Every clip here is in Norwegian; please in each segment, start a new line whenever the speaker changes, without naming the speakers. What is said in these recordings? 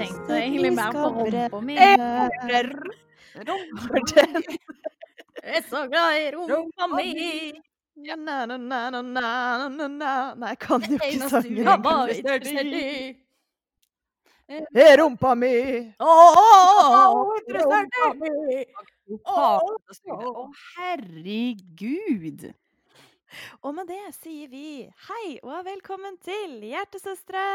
egentlig
Vi
mer på
skal bre-
rumpa mi.
Eh,
Jeg er så glad i rumpa mi!
na, na, na, na, na, na, na. Nei, jeg kan jo ikke
Eneste
sangen.
du har
engang.
vært interessert i.
Eh, Rumpa mi!
Å, å, å,
Å,
interessert i!
Å, herregud!
Og med det sier vi hei og velkommen til Hjertesøstre!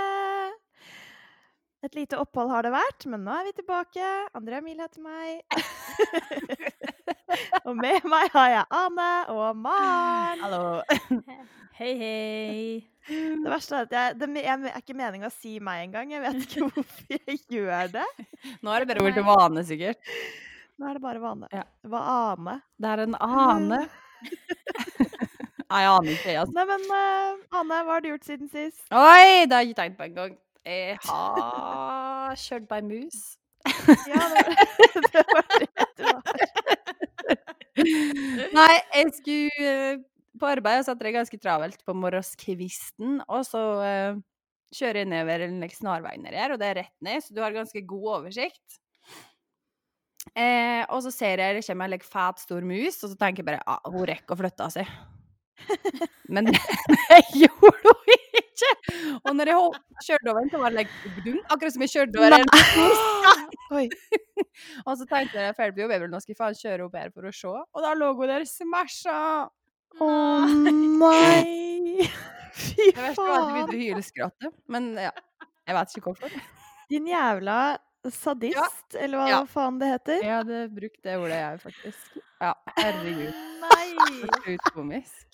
Et lite opphold har det vært, men nå er vi tilbake. Andrea Mil heter meg. og med meg har jeg Ane og Maren.
Hallo.
Hei, hei.
Det verste er at jeg, det me- jeg er ikke meningen å si meg engang. Jeg vet ikke hvorfor jeg gjør det.
Nå er det bare blitt vane, sikkert.
Nå er det bare vane.
Ja.
Hva ane?
Det er en ane. Mm. Nei, jeg aner ikke, jeg, altså.
Nei, men eh, Ane, hva har du gjort siden sist?
Oi, det har jeg ikke tenkt på engang. Jeg har kjørt på ei mus.
Ja, det, det var det du var.
Nei, jeg skulle eh, på arbeid, og så hadde jeg ganske travelt på morgenskvisten. Og så eh, kjører jeg nedover en like, snarvei nedi her, og det er rett ned, så du har ganske god oversikt. Eh, og så ser jeg det kommer en like, fæt, stor mus, og så tenker jeg bare ah, hun rekker å flytte av seg. Men det gjorde hun ikke! Og når jeg hop- kjørte over den, så var det like, dunk, akkurat som jeg kjørte over en
Oi.
Og så tenkte jeg når jeg er ferdig på jobb, jeg vil, nå skal jeg faen kjøre opp her for å se. Og da lå hun der smasha!
Å nei! Fy
Det verste var at vi
faen!
begynte å hyleskratte, men ja. Jeg vet ikke hvorfor.
Din jævla sadist, eller hva
Ja.
faen det heter.
Jeg hadde brukt det ordet, jeg, faktisk. Ja, herregud.
Nei!
så Komisk.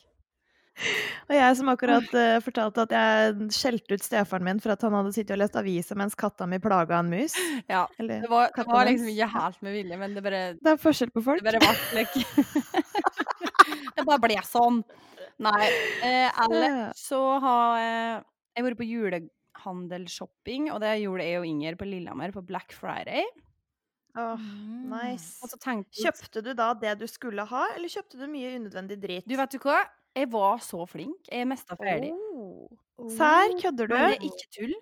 Og jeg som akkurat eh, fortalte at jeg skjelte ut stefaren min for at han hadde sittet og lest avisa mens katta mi plaga en mus.
Ja.
Eller
Det var, det
katta
var
hans.
liksom ikke helt med vilje, men det bare,
Det er forskjell på folk.
det bare ble like Det bare ble sånn. Nei. Eh,
Ja.
ellers så har eh, jeg vært på julehandelshopping, og det gjorde jeg og Inger på Lillehammer på Black Friday.
Åh,
Mm.
nice.
Og så tenkte vi-
Kjøpte du da det du skulle ha, eller kjøpte du mye unødvendig drit?
Du, vet du hva? Jeg var så flink. Jeg mesta ferdig.
Oh.
Sær, kødder
Men det
du?
er ikke tull.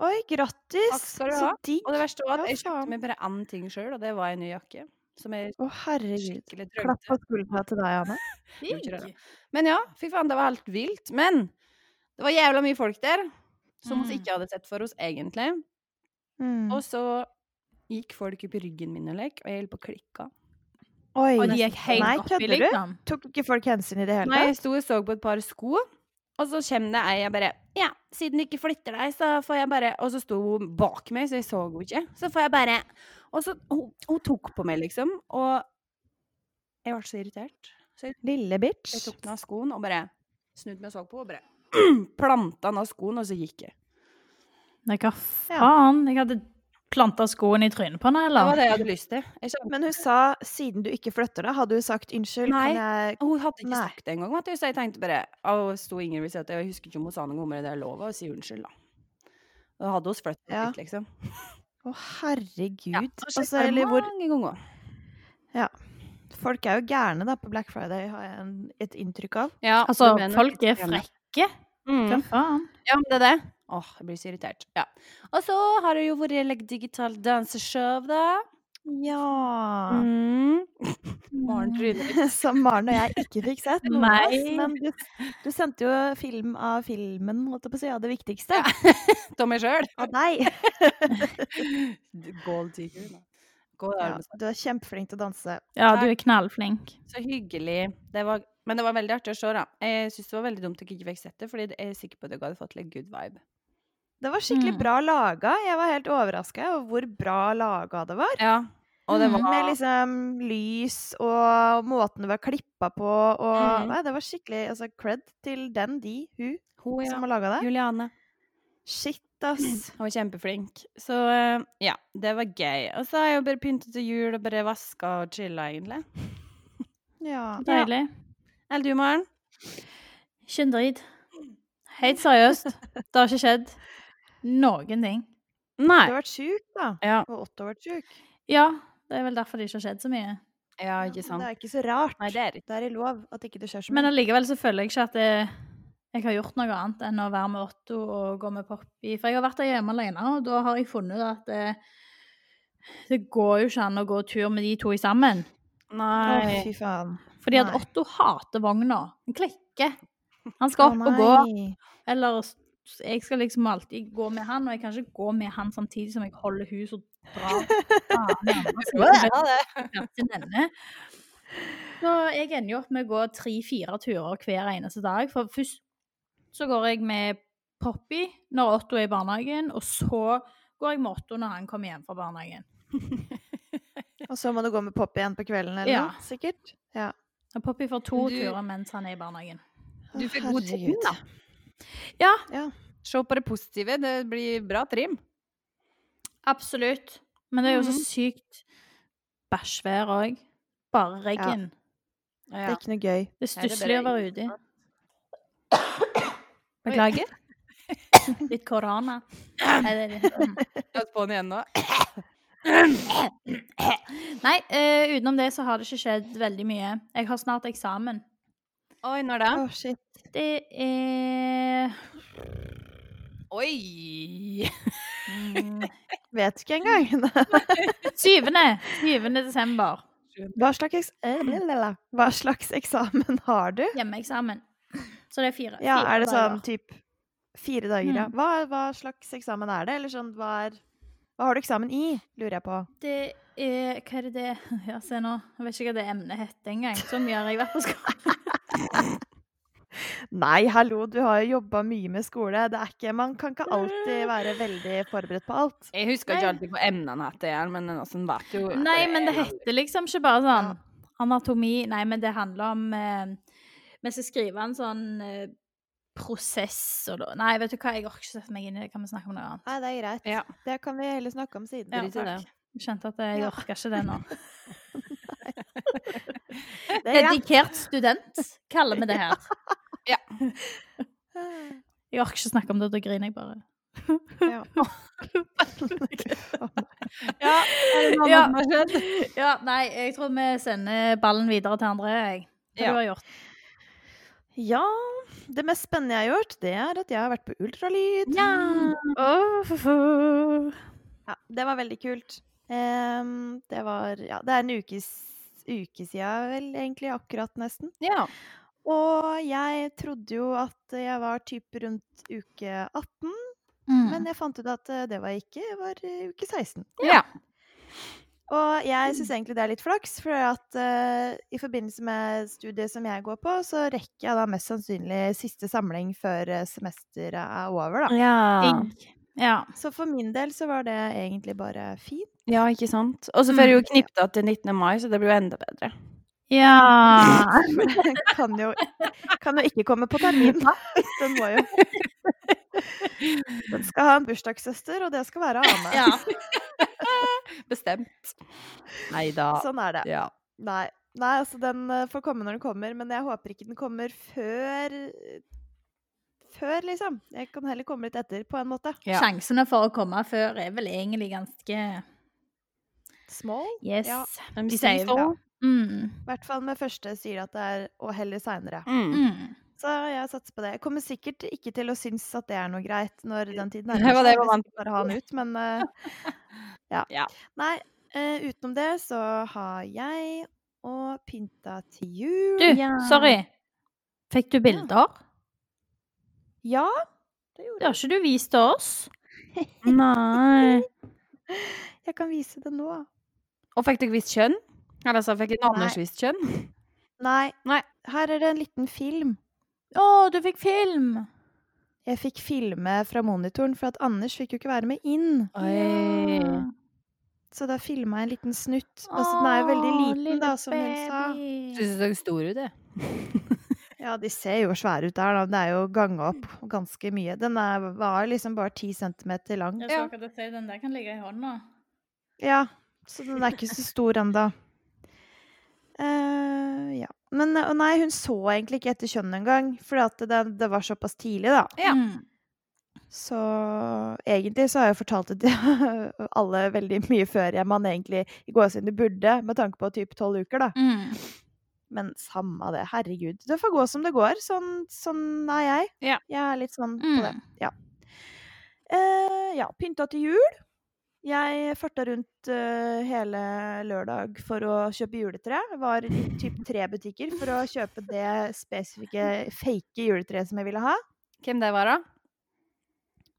Oi,
Takk
grattis!
skal du
Så
ha.
digg!
Og det verste var
Ja,
at jeg kjøpte
faen.
meg bare én ting sjøl, og det var en ny jakke. Som jeg
Å, herregud.
skikkelig
Klapp
drømte
på skuldra til deg, Anne.
Digg.
Digg.
Men ja, fy faen, det var helt vilt. Men det var jævla mye folk der som vi
Mm.
ikke hadde sett for oss egentlig.
Mm.
Og så gikk folk opp i ryggen min og lek, og jeg holdt på å klikke.
Oi,
Og de gikk
Nei,
helt oppi,
kødder du?
liksom.
Tok ikke folk hensyn i det hele
Nei,
tatt?
jeg sto og så på et par sko, og så kommer det ei jeg bare Ja, siden du ikke flytter deg, så får jeg bare Og så sto hun bak meg, så jeg så henne ikke. Så får jeg bare Og så Hun, hun tok på meg, liksom, og jeg ble så irritert. Så jeg,
Lille bitch.
jeg tok den av skoen og bare snudde meg og så på henne, og bare planta den av skoen, og så gikk jeg.
Nei, hva faen? Jeg hadde planta skoen i trynet på henne,
Det var
eller?
det jeg hadde lyst til. Jeg skjønte.
Men hun sa 'siden du ikke flytter deg', hadde hun sagt 'unnskyld,
Nei.
kan jeg
Og Hun hadde ikke
Nei.
sagt det engang, vet du, så jeg tenkte bare Og sto Ingrid ved siden av, og jeg husker ikke om hun sa noe om det, det er lov å si unnskyld, da. Da hadde hun flyttet
Ja.
litt, liksom.
Å, herregud.
Ja, og
altså,
sjekket
eller hvor
mange ganger.
Folk er jo gærne, da, på Black Friday, har jeg en, et inntrykk av.
Ja,
Altså,
du mener
folk
litt
er
grann.
frekke. Hva
Mm.
faen?
Ja, men det er det. Åh, jeg blir så irritert. Ja. Og så har det jo vært like, digital danseshow, da.
Ja
Mm.
Mm.
Maren tryner litt.
Som Maren og jeg ikke fikk sett. noen av oss,
Nei.
Men du, du sendte jo film av filmen, holdt jeg på å si, av det viktigste.
av meg sjøl.
Av deg.
Gold tiger. da. Gå der,
Ja, du er kjempeflink til å danse.
Ja, du er knallflink.
Så hyggelig. Det var, men det var veldig artig å se, da. Jeg syns det var veldig dumt at jeg ikke fikk sett det, fordi jeg er sikker på at jeg hadde fått litt good vibe.
Det var skikkelig
Mm.
bra laga. Jeg var helt overraska over hvor bra laga det var.
Ja. Og det
Mm.
var
Med liksom lys og måten det var klippa på og
Mm.
Nei, det var skikkelig altså, cred til den, de, hun
hun, ja. Mm.
som har laga det.
Juliane.
Shit, ass.
Han var kjempeflink. Så eh, ja, det var gøy. Og så har jeg jo bare pyntet til jul og bare vaska og chilla, egentlig.
Ja.
Deilig.
Eller du, Maren?
Ikke en drit. Helt seriøst, det har ikke skjedd noen ting.
Du
Nei.
har vært sjuk, da.
Ja.
Og Otto har vært sjuk.
Ja, det er vel derfor det ikke har skjedd så mye.
Ja,
ja, ikke
men
sant.
Det er ikke så rart.
Nei, det er det
Det er i lov at ikke det skjer så
Men
mye.
allikevel så føler jeg ikke at jeg, jeg har gjort noe annet enn å være med Otto og gå med Poppy. For jeg har vært der hjemme alene, og da har jeg funnet ut at eh, Det går jo ikke an å gå tur med de to i sammen.
Å,
Nei.
fy faen.
Fordi at
Nei.
Otto hater vogna. Han klikker. Han skal opp
Å,
og gå.
nei.
Eller s- jeg skal liksom alltid gå med han, og jeg kan ikke gå med han samtidig som jeg holder hus og drar. Faen, jeg må si det.
Ja, det.
fram til denne. Så jeg ender jo opp med å gå tre-fire turer hver eneste dag. For først så går jeg med Poppy når Otto er i barnehagen, og så går jeg med Otto når han kommer hjem fra barnehagen.
Og så må du gå med pop igjen på kvelden, eller
Ja.
noe? Sikkert. Ja.
Og Poppy får to
Du-
turer mens han er i barnehagen.
Å,
Du får god trim,
herregud.
da.
Ja.
Ja.
Se på det positive. Det blir bra trim.
Absolutt. Men det er jo så sykt bæsjvær òg. Bare regn.
Det er ikke noe gøy.
Det er
Nei, det er
stusslig å
bare
være
regn.
ute i. Beklager. Litt korona. Nei, det er litt
Jeg har på den igjen nå.
Nei, eh, utenom det så har det ikke skjedd veldig mye. Jeg har snart eksamen.
Oi, når da?
Å, shit.
Det er
Oi!
mm,
Vet ikke engang.
syvende. Syvende desember.
Hva slags, eks eh, blablabla. Hva slags eksamen har du?
Hjemmeeksamen. Så det er fire.
Ja,
fire
er det
dager.
sånn typ fire dager, ja.
Mm.
Hva, hva slags eksamen er det? Eller sånn, hva er Hva har du eksamen i, lurer jeg på.
Det er Hva er det det Ja, se nå. Jeg vet ikke hva det emnet heter engang. Så mye har jeg vært på skolen.
Nei, hallo, du har jo jobba mye med skole. Det er ikke Man kan ikke alltid være veldig forberedt på alt.
Jeg husker
Nei.
ikke alltid på emnene etter igjen, men noen vet jo
Nei, men det heter liksom ikke bare sånn anatomi. Nei, men det handler om eh, Vi skal skrive en sånn eh, prosess og da Nei, vet du hva, jeg orker ikke sette meg inn i det. Kan vi snakke om noe annet?
Nei, det er greit.
Ja.
Det kan vi heller snakke om siden.
Ja,
Drit i det.
Jeg Skjønte at jeg
Ja.
orka ikke det nå.
Det er greit.
Dedikert student kaller vi det her. Jeg orker ikke snakke om det, da griner jeg bare.
Ja.
Ja, er det noe
Ja.
annet som har skjedd?
Ja, nei, jeg tror vi sender ballen videre til André, jeg. Hva
Ja.
du har gjort.
ja. Det mest spennende jeg har gjort, det er at jeg har vært på ultralyd.
Åh, fu, fu.
Ja, det var veldig kult. Ehm, det var Ja, det er en ukes, uke siden vel, egentlig. Akkurat, nesten.
Ja.
Og jeg trodde jo at jeg var type rundt uke 18,
Mm.
Mm.
men jeg fant ut at eh, det var jeg ikke. Jeg var eh, uke 16.
ja.
Og jeg syns egentlig det er litt flaks, for at eh, i forbindelse med studiet som jeg går på, så rekker jeg da mest sannsynlig siste samling før eh, semesteret er over,
Mm.
da.
Jeg, ja.
Så for min del så var det egentlig bare fint.
Ja, ikke sant? Og så får jeg jo knipta til 19. mai, så det blir jo enda bedre.
ja.
For den kan jo, kan jo ikke komme på termin. Den må jo Den skal ha en bursdagssøster, og det skal være Ane.
ja.
Bestemt. Nei da.
Sånn er det.
Ja.
Nei. Nei, altså den eh, får komme når den kommer, men jeg håper ikke den kommer før Før, liksom. Jeg kan heller komme litt etter, på en måte.
Ja.
Sjansene for å komme før er vel egentlig ganske
Small.
Yes.
Ja.
De sier jo
ja.
Mm.
I hvert fall med første sier at det er og heller seinere.
Mm.
Mm.
Så jeg satser på det. Jeg kommer sikkert ikke til å synes at det er noe greit når den tiden er
Det var det jeg var vant
Bare ha den ut, men eh, ja.
Ja.
Nei, eh, utenom det så har jeg og pynta til jul.
Du, sorry. Fikk du bilder?
Ja, det gjorde
Det har ikke du vist til oss.
Mm. Nei.
jeg. Jeg kan vise det nå.
Og fikk dere visst kjønn? Eller så fikk en Anders
Nei.
visst kjønn?
Nei,
Nei.
her er det en liten film.
Å, du fikk film!
Jeg fikk filme fra monitoren, for at Anders fikk jo ikke være med inn.
Oi.
Ja.
Så da filma jeg en liten snutt. Altså, den er jo veldig
Åh,
liten, da, som hun sa.
baby.
Syns dere stor ut, det?
Ja, de ser jo svære ut der, da. Det er jo ganga opp ganske mye. Den er, var liksom bare ti centimeter lang.
Jeg så akkurat å si, den der kan ligge i hånda.
Ja, så den er ikke så stor ennå. ja. Men eh, nei, hun så egentlig ikke etter kjønn engang, for det, det var såpass tidlig, da.
Ja.
Mm.
Så egentlig så har jeg fortalt det til alle veldig mye før jeg man egentlig i gåsehudet burde, med tanke på typ tolv uker, da.
Mm.
Men samme av det, herregud. Det får gå som det går. Sånn, sånn er jeg.
Ja.
Jeg er litt sånn på
Mm.
det. Ja. Eh, ja, pynta til jul. Jeg farta rundt eh, hele lørdag for å kjøpe juletre. Var i typ tre butikker for å kjøpe det spesifikke fake juletreet som jeg ville ha.
Hvem det var, da?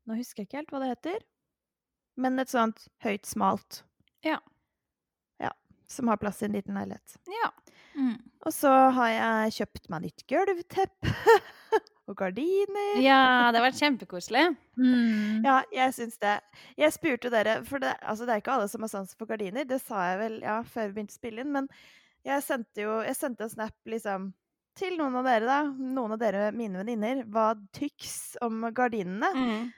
Nå husker jeg ikke helt hva det heter. Men et sånt høyt, smalt.
Ja.
Ja, Som har plass i en liten leilighet.
Ja.
Mm.
Og så har jeg kjøpt meg nytt gulvteppe og gardiner.
ja, det har vært kjempekoselig.
Mm.
Ja, jeg syns det. Jeg spurte jo dere, for det, altså det er ikke alle som har sans for gardiner. Det sa jeg vel ja, før vi begynte å spille inn, men jeg sendte jo jeg sendte en snap liksom til noen av dere, da. Noen av dere, mine venninner, var tyks om gardinene.
Mm.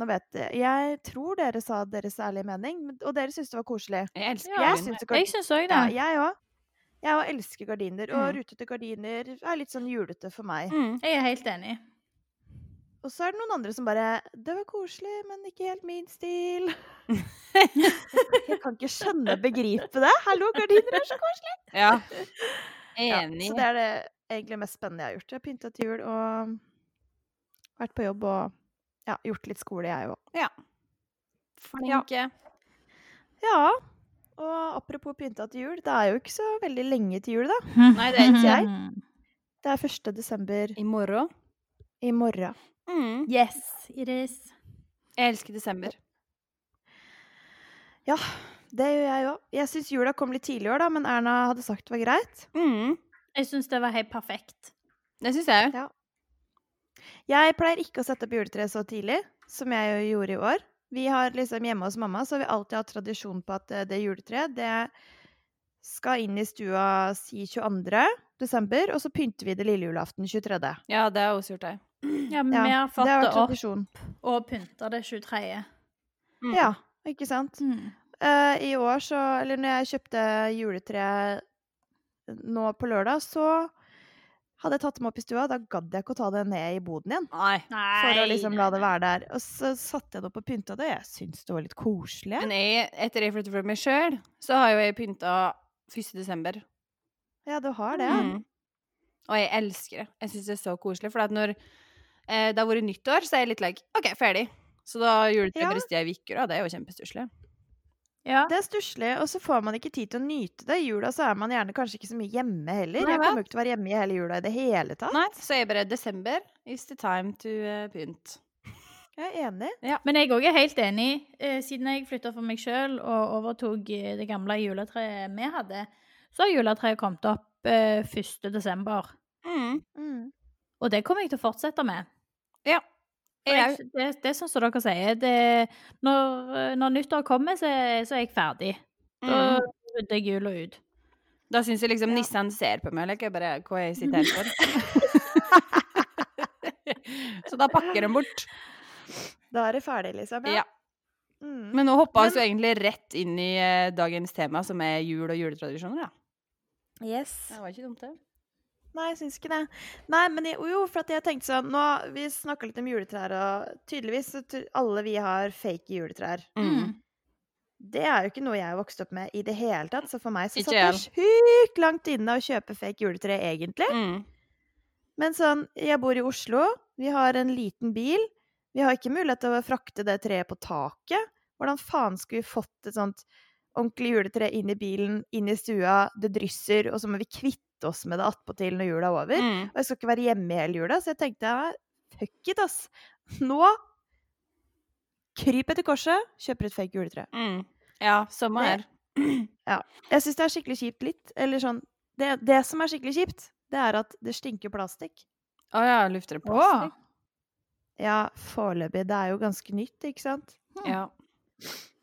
Nå vet jeg Jeg tror dere sa deres ærlige mening, men- og dere syntes det var koselig.
Jeg elsker
jeg
Ja,
gardiner.
syns det
Jeg syns òg
Ja,
det.
jeg òg. Jeg òg elsker gardiner, og
Mm.
rutete gardiner er litt sånn julete for meg.
Mm.
Jeg er helt enig.
Og så er det noen andre som bare 'Det var koselig, men ikke helt min stil'. Jeg kan ikke skjønne begripe det. Hallo, gardiner er så koselig!
Ja.
Ja,
Enig.
så det er det egentlig mest spennende jeg har gjort. Jeg har pynta til jul og vært på jobb og ja, gjort litt skole, jeg òg.
Flinke.
Ja. Og apropos pynta til jul, det er jo ikke så veldig lenge til jul, da.
Nei, det er ikke
jeg. Det er 1. desember
I morgen.
i morgen.
Mm.
Yes, it is.
Jeg elsker desember.
Ja, det gjør jeg òg. Jeg syns jula kom litt tidlig i år, da, men Erna hadde sagt det var greit.
Mm.
Jeg syns det var helt perfekt.
Det syns jeg òg.
Jeg pleier ikke å sette opp juletre så tidlig, som jeg jo gjorde i år. Vi har liksom Hjemme hos mamma så har vi alltid hatt tradisjon på at eh, det juletreet det skal inn i stua si 22. desember, og så pynter vi det lille julaften 23.
Ja, det har jeg også gjort, jeg.
Ja, vi
Ja,
har
Det har
fått det
vært
opp
tradisjon.
og pynta det 23.
Mm.
Ja, ikke sant?
Mm.
Eh, I år så Eller når jeg kjøpte juletre eh, nå på lørdag, så hadde jeg tatt dem opp i stua. Da gadd jeg ikke å ta det ned i boden igjen.
Nei.
Nei.
For å liksom la det være der. Og så satte jeg det opp og pynta det, og jeg syntes det var litt koselig.
Men jeg, etter jeg flyttet fra meg sjøl, så har jo jeg pynta 1. desember.
Ja, du har det. ja.
Mm. Og jeg elsker det. Jeg syns det er så koselig. For at når eh, det har vært nyttår, så er jeg litt like OK, ferdig. Så da juletreet
Ja.
bare stiger i uker, og det er jo kjempestusslig.
Ja.
Det er stusslig, og så får man ikke tid til å nyte det. I jula så er man gjerne kanskje ikke så mye hjemme heller.
Nei,
jeg
hva?
kommer jo ikke til å være hjemme i hele jula i det hele tatt.
Nei, så er jeg bare desember is the time to eh, pynt.
Jeg er enig.
Men jeg òg er helt enig. Eh, siden jeg flytta for meg sjøl og overtok eh, det gamle juletreet vi hadde, så har juletreet kommet opp eh, 1. desember.
Mm.
Og det kommer jeg til å fortsette med. For
Jeg,
jeg, det, det er sånn som dere sier. Det, når, eh, når nyttår kommer, så, så er jeg ferdig. Da
mm.
rydder jeg jula ut.
Da syns jeg liksom
Ja.
nissen ser på meg, like, jeg bare hva jeg sitter her for. så da pakker de bort.
Da er det ferdig, liksom.
Ja.
Mm.
Men nå hoppa vi
Men-
jo egentlig rett inn i eh, dagens tema, som er jul og juletradisjoner, da.
yes.
Det var ikke dumt, det.
Nei, jeg syns ikke det. Nei, men jeg, jo, for at jeg tenkte sånn nå, Vi snakka litt om juletrær, og tydeligvis så tr- alle vi har fake juletrær.
Mm.
Det er jo ikke noe jeg vokste opp med i det hele tatt, så for meg så
Ikke
satt det sjukt langt inne å kjøpe fake juletre, egentlig.
Mm.
Men sånn, jeg bor i Oslo, vi har en liten bil. Vi har ikke mulighet til å frakte det treet på taket. Hvordan faen skulle vi fått et sånt ordentlig juletre inn i bilen, inn i stua, det drysser, og så må vi kvitte oss med det attpåtil når jula er over?
Mm.
Og jeg skal ikke være hjemme hele jula, så jeg tenkte ja, fuck it, ass. Nå kryp etter korset, kjøper et fake juletre.
Mm. Ja, samme
Det-
her.
Jeg syns det er skikkelig kjipt litt, eller sånn Det, det som er skikkelig kjipt, det er at det stinker plastikk.
Å ja, lufter det plastikk?
Ja, foreløpig. Det er jo ganske nytt, ikke sant?
Ja.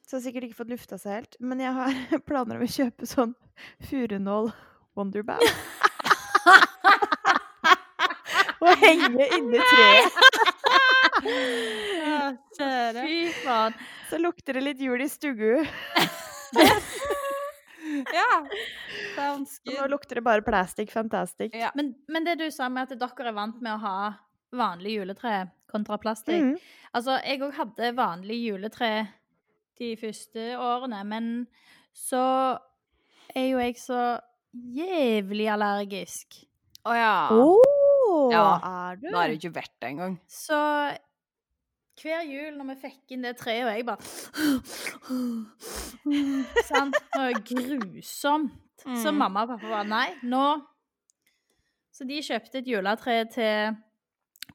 Så jeg har sikkert ikke fått lufta seg helt. Men jeg har planer om å kjøpe sånn furunål wonderbag. og henge inni treet.
Fy faen.
Så lukter det litt jul i stugu.
ja. Sounds
Og nå lukter det bare plastic fantastic.
Ja.
Men, men det du sa med at dere er vant med å ha vanlig juletre kontra plastikk
Mm.
Altså, jeg òg hadde vanlig juletre de første årene, men så er jo jeg så jævlig allergisk.
Å ja.
Åh,
Ja.
er du?
Da har det jo ikke vært det engang.
Så Hver jul når vi fikk inn det treet, og jeg bare Sant? Det var grusomt. Så mamma og pappa bare Nei, nå Så de kjøpte et juletre til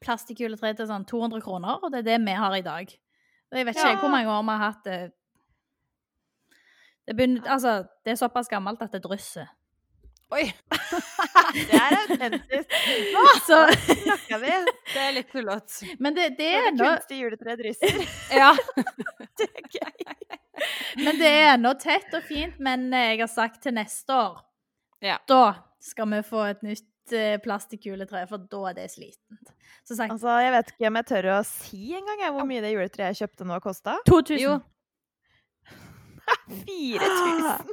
Plastikkjuletre til sånn 200 kroner, og det er det vi har i dag. Og jeg vet ikke
Ja.
hvor mange år vi har hatt det. Det, begynner, altså, det er såpass gammelt at det drysser.
Oi!
Det er autentisk.
Så,
Snakka vi?
Det er litt tullete.
men det, det
Det
er
er
ennå
kunstig juletre drysser.
Ja.
Men det er ennå tett og fint, men eh, jeg har sagt til neste år
Ja.
Da skal vi få et nytt eh, plastikkjuletre, for da er det slitent. Så sagt
Altså, jeg vet ikke om jeg tør å si engang jeg, hvor mye det juletreet jeg kjøpte nå, kosta.
2000.
Jo.
4000!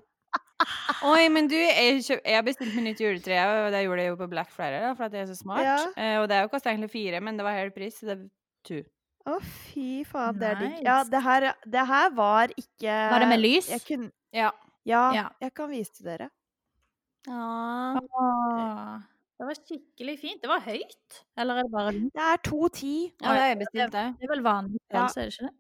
Oi, men du, jeg, kjøp, jeg har bestilt meg nytt juletre, og det gjorde jeg jo på Black Friday, da, for at jeg er så smart.
Ja.
Eh, og det er jo kosta egentlig fire, men det var hel pris. Så det,
Å, fy faen, det er digg.
Nice.
Ja, det her, det her var ikke
Var det med lys?
Jeg kunne,
ja.
ja,
Ja.
jeg kan vise dere.
Åh, Det var skikkelig fint. Det var høyt. Eller er det bare
Det er 210.
Ja, det har jeg bestilt, det.
Det er vel vanlig
Ja.
størrelse, er det ikke det?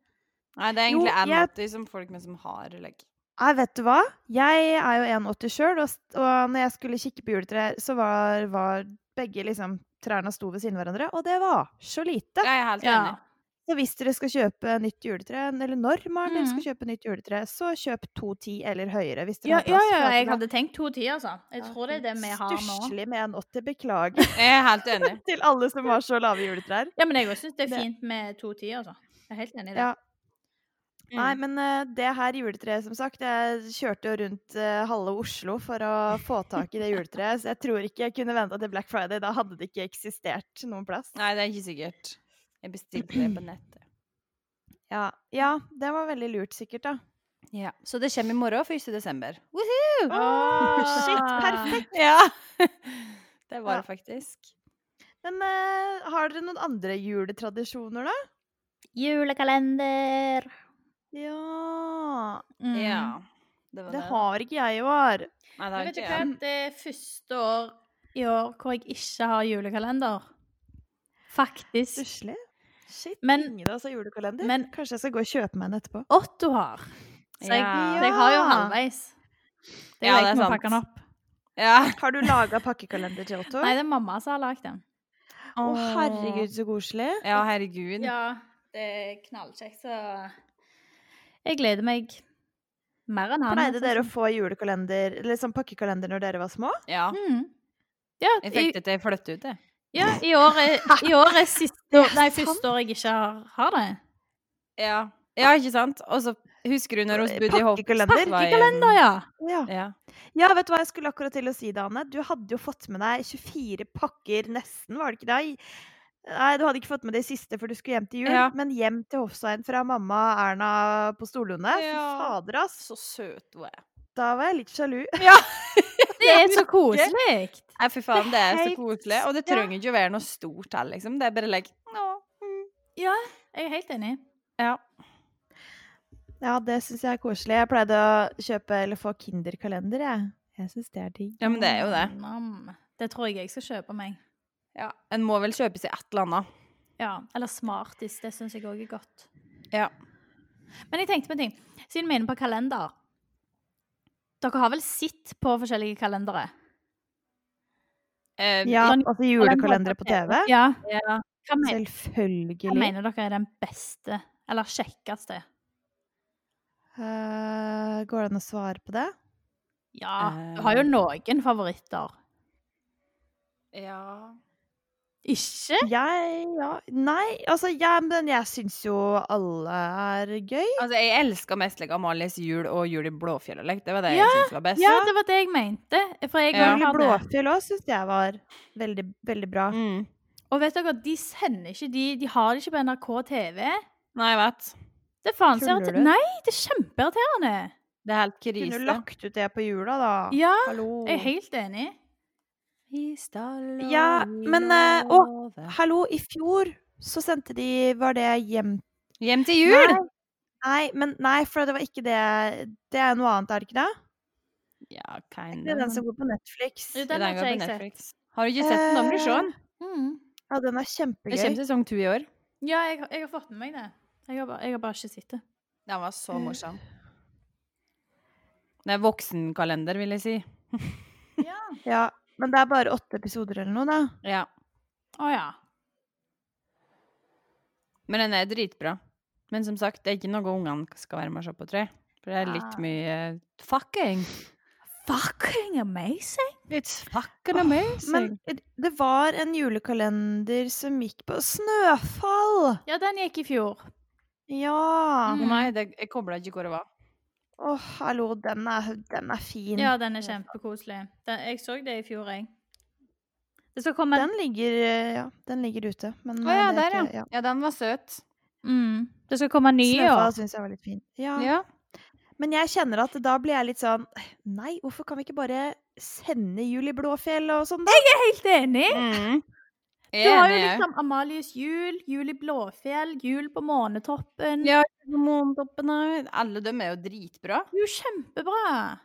Nei, det er
Jo,
egentlig
jeg-
Anatti som folk med som har legg.
Nei, vet du hva? Jeg er jo 1,80 sjøl, og, s- og når jeg skulle kikke på juletrær, så var, var begge liksom trærne sto ved siden av hverandre, og det var så lite.
Jeg er helt
Ja.
enig.
Så hvis dere skal kjøpe nytt juletre, eller når man dere skal
Mhm.
kjøpe nytt juletre, så kjøp 210 eller høyere hvis dere har
Ja, ja,
plass.
ja,
for at
jeg
det er
hadde tenkt to ti, altså. Jeg tror det er det vi har nå.
Stusslig med 1,80. Beklager
Jeg er helt enig.
til alle som har så lave juletrær.
Ja, men jeg også syns det er
Det-
fint med to ti, altså. Jeg er helt enig i det.
Ja.
Mm.
Nei, men eh, det her juletreet, som sagt Jeg kjørte jo rundt eh, halve Oslo for å få tak i det juletreet, så jeg tror ikke jeg kunne venta til Black Friday. Da hadde det ikke eksistert noen plass.
Nei, det er ikke sikkert. Jeg bestilte det på nettet.
Ja, ja det var veldig lurt, sikkert, da.
Ja. Så det kommer i morgen, 1. desember. Woohoo!
Åh,
Shit, perfekt!
Ja. Det
Ja.
var det faktisk.
Men eh, har dere noen andre juletradisjoner, da?
Julekalender.
Ja
Mm.
Ja. Det var
Det har ikke jeg i år.
Nei, det
Men
har
vet du
ikke
hva,
jeg.
det er første år i år hvor jeg ikke har julekalender. Faktisk.
Stusslig. Shit,
Men-
ingen av oss har julekalender.
men-
Kanskje jeg skal gå og kjøpe meg en etterpå.
Otto har. Så jeg,
Ja.
så jeg har jo halvveis. Det er
Ja,
jo
det
jeg
er
som
sant.
pakker den opp.
Ja.
Har du laga pakkekalender til Otto?
Nei, det er mamma som har lagd den.
Å, herregud, så koselig.
Ja, herregud.
Ja, det er knallkjekt, så Jeg gleder meg mer enn han. altså.
Pleide dere å få julekalender, eller sånn pakkekalender når dere var små?
Ja.
mm. Ja,
Jeg
i,
fikk det til jeg flyttet ut, jeg.
ja, i år er, i år er siste år, Nei,
sant?
første år jeg ikke har, har det.
Ja. ja, ikke sant? Og så husker du når hun bodde i Hopp...
Pakkekalender?
var jeg-
Pakkekalender, ja.
Ja.
Ja.
ja, vet du hva jeg skulle akkurat til å si det, Anne? Du hadde jo fått med deg 24 pakker nesten, var det ikke det? Nei, du hadde ikke fått med de siste, for du skulle hjem til jul.
Ja.
Men hjem til Hofsveien fra mamma Erna på Storlunde. Fy
Ja.
fader, ass.
Så søt hun er.
Da var jeg litt sjalu.
Det er så koselig.
Nei, fy faen, det er så
helt-
koselig. Og det
ja.
trenger ikke å være noe stort her, liksom. Det er bare like Nå.
Ja, jeg er helt enig.
Ja.
Ja, det syns jeg er koselig. Jeg pleide å kjøpe eller få Kinderkalender, jeg. Jeg syns det er digg.
ja, men det er jo det.
Mm, Nam. Det tror jeg jeg skal kjøpe meg.
Ja. En må vel kjøpe seg et eller annet.
Ja, Eller Smartis. Det syns jeg òg er godt.
Ja.
Men jeg tenkte på en ting. Siden vi er inne på kalender Dere har vel sett på forskjellige kalendere?
Eh,
Ja,
Sånn-
altså julekalendere på TV?
Ja.
ja.
Hva, men, hva
Selvfølgelig.
mener dere er den beste, eller kjekkeste?
Eh, går det an å svare på det?
Ja, du har jo noen favoritter.
Ja.
Ikke?
Jeg ja. Nei, altså jeg, men jeg syns jo alle er gøy.
Altså, jeg elska mest like, Amalies jul og jul i Blåfjellet. Det var det
Ja,
jeg syntes var best.
Ja, det var det jeg mente. For jeg
Ja.
òg
Julie
har det.
Blåfjell òg syns jeg var veldig, veldig bra.
Mm.
Og vet dere, de sender ikke de De har det ikke på NRK TV.
Nei, jeg vet.
Det er faen så
Tuller
irriter-
du?
Nei, det er kjempeirriterende.
Det er helt
Kunne du
krise.
lagt ut det på jula, da?
Ja,
Hallo.
jeg er helt enig.
Ja, men, eh, Hallo, i fjor så sendte de Var det hjem
Hjem til jul!
Nei, nei, men nei, for det var ikke det Det er noe annet, er det ikke det?
Ja,
Det
kinda.
er den som går på Netflix.
Jo,
Ja,
den har
går
ikke
på
jeg sett.
Netflix. Har du ikke sett den? Da må du se den.
Mm.
den Eh, er
Det kommer
kjempegøy.
sesong to i år.
Ja, jeg, jeg har fått med meg det. Jeg har bare, jeg har bare ikke sett det.
Den var
Mm.
så morsom. Det er voksenkalender, vil jeg si.
Ja, men det er bare åtte episoder eller noe, da.
Ja.
Å ja.
Men den er dritbra. Men som sagt, det er ikke noe ungene skal være med og se på, tror jeg. For det er litt
Ah.
mye fucking.
Fucking amazing!
It's fucking
Åh,
amazing.
Men det var en julekalender som gikk på Snøfall!
Ja, den gikk i fjor.
Ja!
Mm.
Å Ah, Nei, det, jeg kobla ikke hvor det var.
Åh, hallo, den er, den er fin.
Ja, den er kjempekoselig. Den, jeg så det i fjor, jeg. Det skal komme
Den ligger, eh, ja, den ligger ute. Men
Å
eh,
ja,
det er
der,
ikke-
ja. Ja, den var søt.
mm, Det skal komme ny i
Snøfall
år.
syns jeg var litt fin. Ja.
Ja.
Men jeg kjenner at da blir jeg litt sånn Nei, hvorfor kan vi ikke bare sende Julie Blåfjell og sånn, da?
Helt enig!
Mm.
Du
Jeg er
har jo
enig, jeg.
liksom Amalies jul, jul i Blåfjell, jul på Månetoppen.
Ja, Månetoppen er Alle dem er jo dritbra.
Det er jo kjempebra!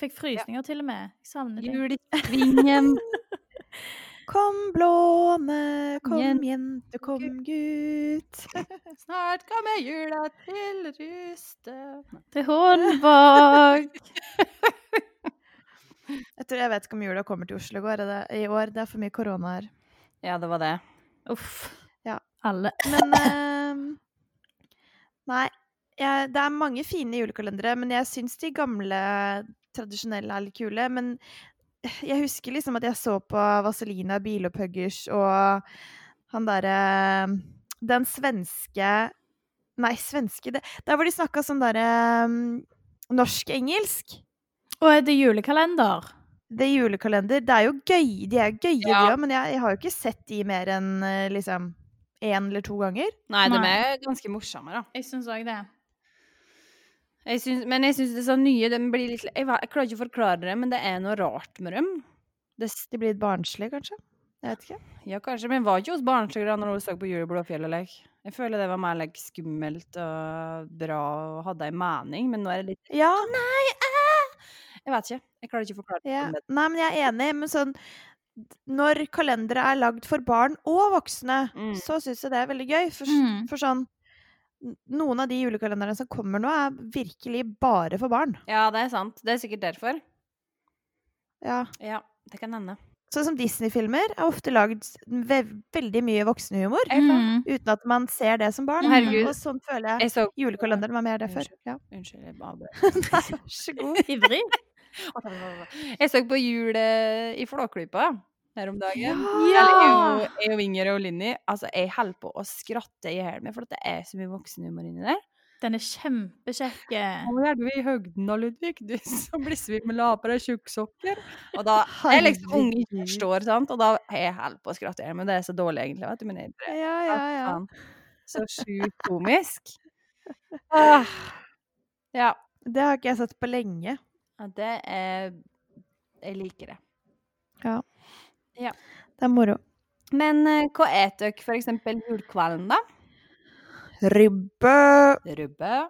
Fikk frysninger til og med. Jeg savner det.
Jul i Svingen.
Kom, blåne, kom,
Jente,
jente, kom, gutt.
Snart kommer jula til Ryste.
Til Håndvåg.
Jeg tror jeg vet ikke om jula kommer til Oslo i går, er det- i år. Det er for mye korona her.
Ja, det var det.
Uff.
Ja.
Alle.
Men ehm, Nei. Jeg, det er mange fine julekalendere, men jeg syns de gamle tradisjonelle er litt kule. Men jeg husker liksom at jeg så på Vazelina Bilopphøggers og han derre Den svenske Nei, svenske det, Der hvor de snakka sånn derre ehm, norsk-engelsk.
Og er det julekalender?
Det er julekalender. Det er jo gøy, de er jo gøye,
Ja.
de òg, men jeg, jeg har jo ikke sett de mer enn eh, liksom én eller to ganger.
Nei, de
Nei.
er ganske morsomme, da.
Jeg syns òg det.
Jeg syns- men jeg syns det er så nye de blir litt, jeg, va- jeg klarer ikke å forklare det, men det er noe rart med dem. Det, s-
De blir litt barnslige, kanskje? Jeg vet ikke.
ja, kanskje, men var ikke hos barnesøkere når hun så på Jul i Blåfjell og lek. Jeg føler det var mer like, skummelt og bra og hadde en mening, men nå er det litt
Ja,
Jeg vet ikke. Jeg klarer ikke å forklare det.
ja. Nei, men jeg er enig, men sånn d- Når kalendere er lagd for barn og voksne,
Mm.
så syns jeg det er veldig gøy. For, s-
Mm.
for sånn n- Noen av de julekalenderne som kommer nå, er virkelig bare for barn.
Ja, det er sant. Det er sikkert derfor.
Ja.
Ja, det kan hende.
Sånn som Disney-filmer er ofte lagd s- ve veldig mye voksenhumor.
Jeg, faen-
Mm.
Uten at man ser det som barn.
Herregud.
Og sånn føler jeg
jeg så
julekalenderen var mer det før. Ja.
Unnskyld, jeg
Nei,
avbrøt.
vær så god.
Ivrig.
Jeg så på Jul eh, i Flåklypa her om dagen.
Ja!
Eller, Jeg og Inger og Linni. Altså, jeg holder på å skratte i hjel meg, for at det er så mye voksenhumor inni der.
Den er kjempekjekk. eh.
Nå er du i høgden da, Ludvig, du som blir svimmel av på deg tjukksokker. Og da jeg er liksom unge ikke
Herregud.
forstår, sant, og da er jeg holder på å skratte i hjel meg. Det er så dårlig, egentlig, vet du, men jeg bare
Ja, ja, ja.
faen. Så sjukt komisk. Ah. Ja.
Det har ikke jeg sett på lenge.
ja, det er Jeg liker det.
Det er moro.
Men eh, hva et dere for eksempel julekvelden, da?
Ribbe!
Rubbe.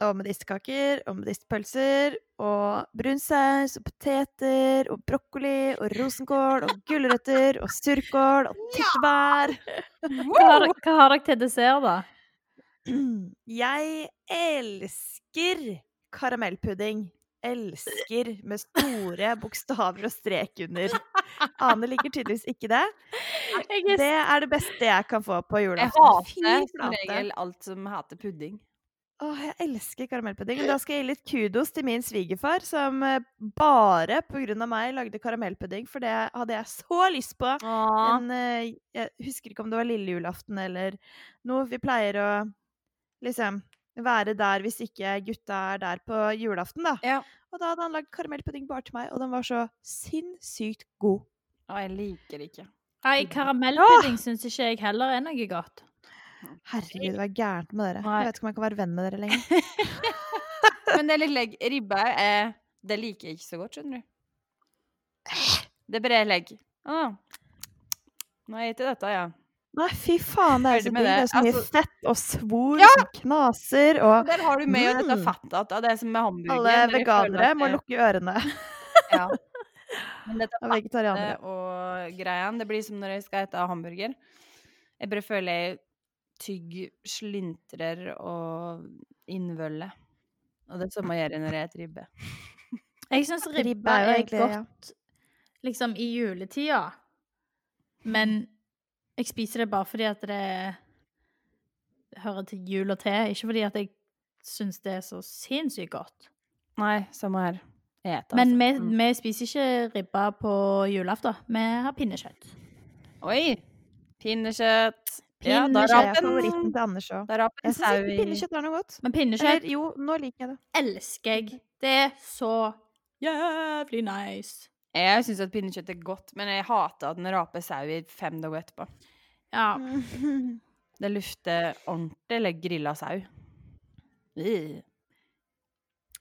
og medisterkaker og medisterpølser og brunsaus og poteter og brokkoli og rosenkål og gulrøtter og surkål og tyttebær.
Hva har, dere- hva har dere til dessert, da?
Jeg elsker karamellpudding. Elsker med store bokstaver og strek under. Ane liker tydeligvis ikke det.
Jeg
Det
er,
er det beste jeg kan få på
Jeg
julaften.
hater
Fy
som
flate.
regel alt som heter pudding.
Åh, jeg elsker karamellpudding. og Da skal jeg gi litt kudos til min svigerfar, som eh, bare pga. meg lagde karamellpudding, for det hadde jeg så lyst på.
Åh.
Men eh, jeg husker ikke om det var lille julaften eller noe. Vi pleier å liksom være der hvis ikke gutta er der på julaften, da.
Ja.
Og da hadde han lagd karamellpudding bare til meg, og den var så sinnssykt god.
Å, jeg liker det ikke.
nei, karamellpudding syns ikke jeg heller er noe godt.
Herregud, hva er gærent med dere?
Nei.
Jeg vet ikke om jeg kan være venn med dere lenger.
Men det er litt legg. Ribbe er Det liker jeg ikke så godt, skjønner du. Det er bare legg. Åh. Nå har jeg spist dette, ja.
Nei, fy faen, det er jo
Ferdig
så
med
digg. Det er så mye
det. Altså-
fett og svor
Ja!
som knaser og
Der har du med og dette
Mm.
fattet at det er som med hamburger.
Alle
der jeg føler
veganere
at
må
det-
lukke ørene
Ja. Men dette
av
Eh,
vegetarianere.
fattet og greien, det blir som når jeg skal ete hamburger. Jeg bare føler jeg tygg, slyntrer og innvølle. Og det samme gjør jeg når jeg spiser ribbe.
Jeg syns ribbe,
Ribbe er jo
er,
egentlig-
godt
ja.
liksom i juletida, men jeg spiser det bare fordi at det hører til jul og te, ikke fordi at jeg syns det er så sinnssykt godt.
Nei, samme her. Jeg eter,
Men
altså.
vi,
Mm.
vi spiser ikke ribba på julaften. Vi har pinnekjøtt.
Oi! Pinnekjøtt. Ja, da
Pinnekjøtt
Det er
raper
favoritten
en-
til Anders òg.
da raper en
Jeg
sau
syns ikke
i
pinnekjøtt er noe godt.
Men pinnekjøtt
Eller jo, nå liker jeg det. Mm.
elsker jeg. Det er så jævlig nice.
Jeg syns at pinnekjøtt er godt, men jeg hater at den raper sau i fem dager etterpå.
Ja.
Mm.
Det lukter ordentlig eller grilla sau. Øh.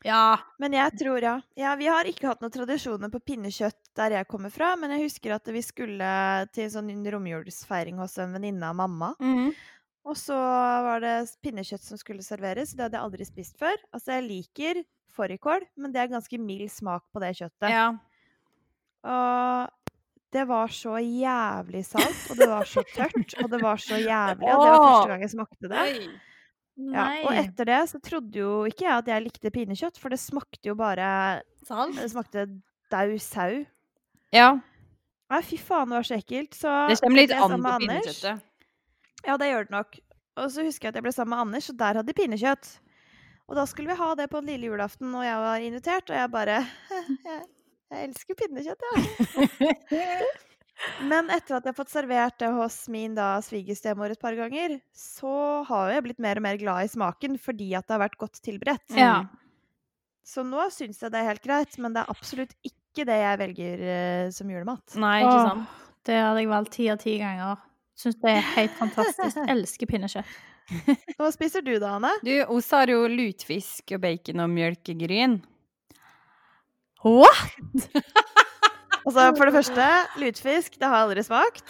ja.
Men jeg tror, ja. ja. Vi har ikke hatt noen tradisjoner på pinnekjøtt der jeg kommer fra, men jeg husker at vi skulle til en sånn romjulsfeiring hos en venninne av mamma. Og så var det s- pinnekjøtt som skulle serveres. Det hadde jeg aldri spist før. Altså, jeg liker fårikål, men det er ganske mild smak på det kjøttet.
Ja.
Og det var så jævlig salt, og det var så tørt, og det var så jævlig. Og det var første gang jeg smakte det.
Oi.
Ja,
Nei.
og etter det så trodde jo ikke jeg at jeg likte pinnekjøtt, for det smakte jo bare
Salt.
Det smakte daud sau.
ja.
Nei, fy faen, det var så ekkelt. Så
Det kommer litt
ble jeg
an
sammen
på
med Anders.
pinnekjøttet.
Ja, det gjør det nok. Og så husker jeg at jeg ble sammen med Anders, og der hadde de pinnekjøtt. Og da skulle vi ha det på lille julaften, og jeg var invitert, og jeg bare Jeg, jeg elsker pinnekjøtt, jeg. Men etter at jeg har fått servert det hos min da svigerstemor et par ganger, så har jeg blitt mer og mer glad i smaken fordi at det har vært godt tilberedt.
Ja.
Så nå syns jeg det er helt greit, men det er absolutt ikke det jeg velger eh, som julemat.
Nei, ikke
Åh.
sant?
Det hadde jeg valgt ti av ti ganger. Syns det er helt fantastisk. Elsker pinnekjøtt.
Hva spiser du da, Anne?
Du, oss har jo lutfisk og bacon og mjølkegryn.
What?
Altså, For det første, lutfisk, det har jeg aldri smakt.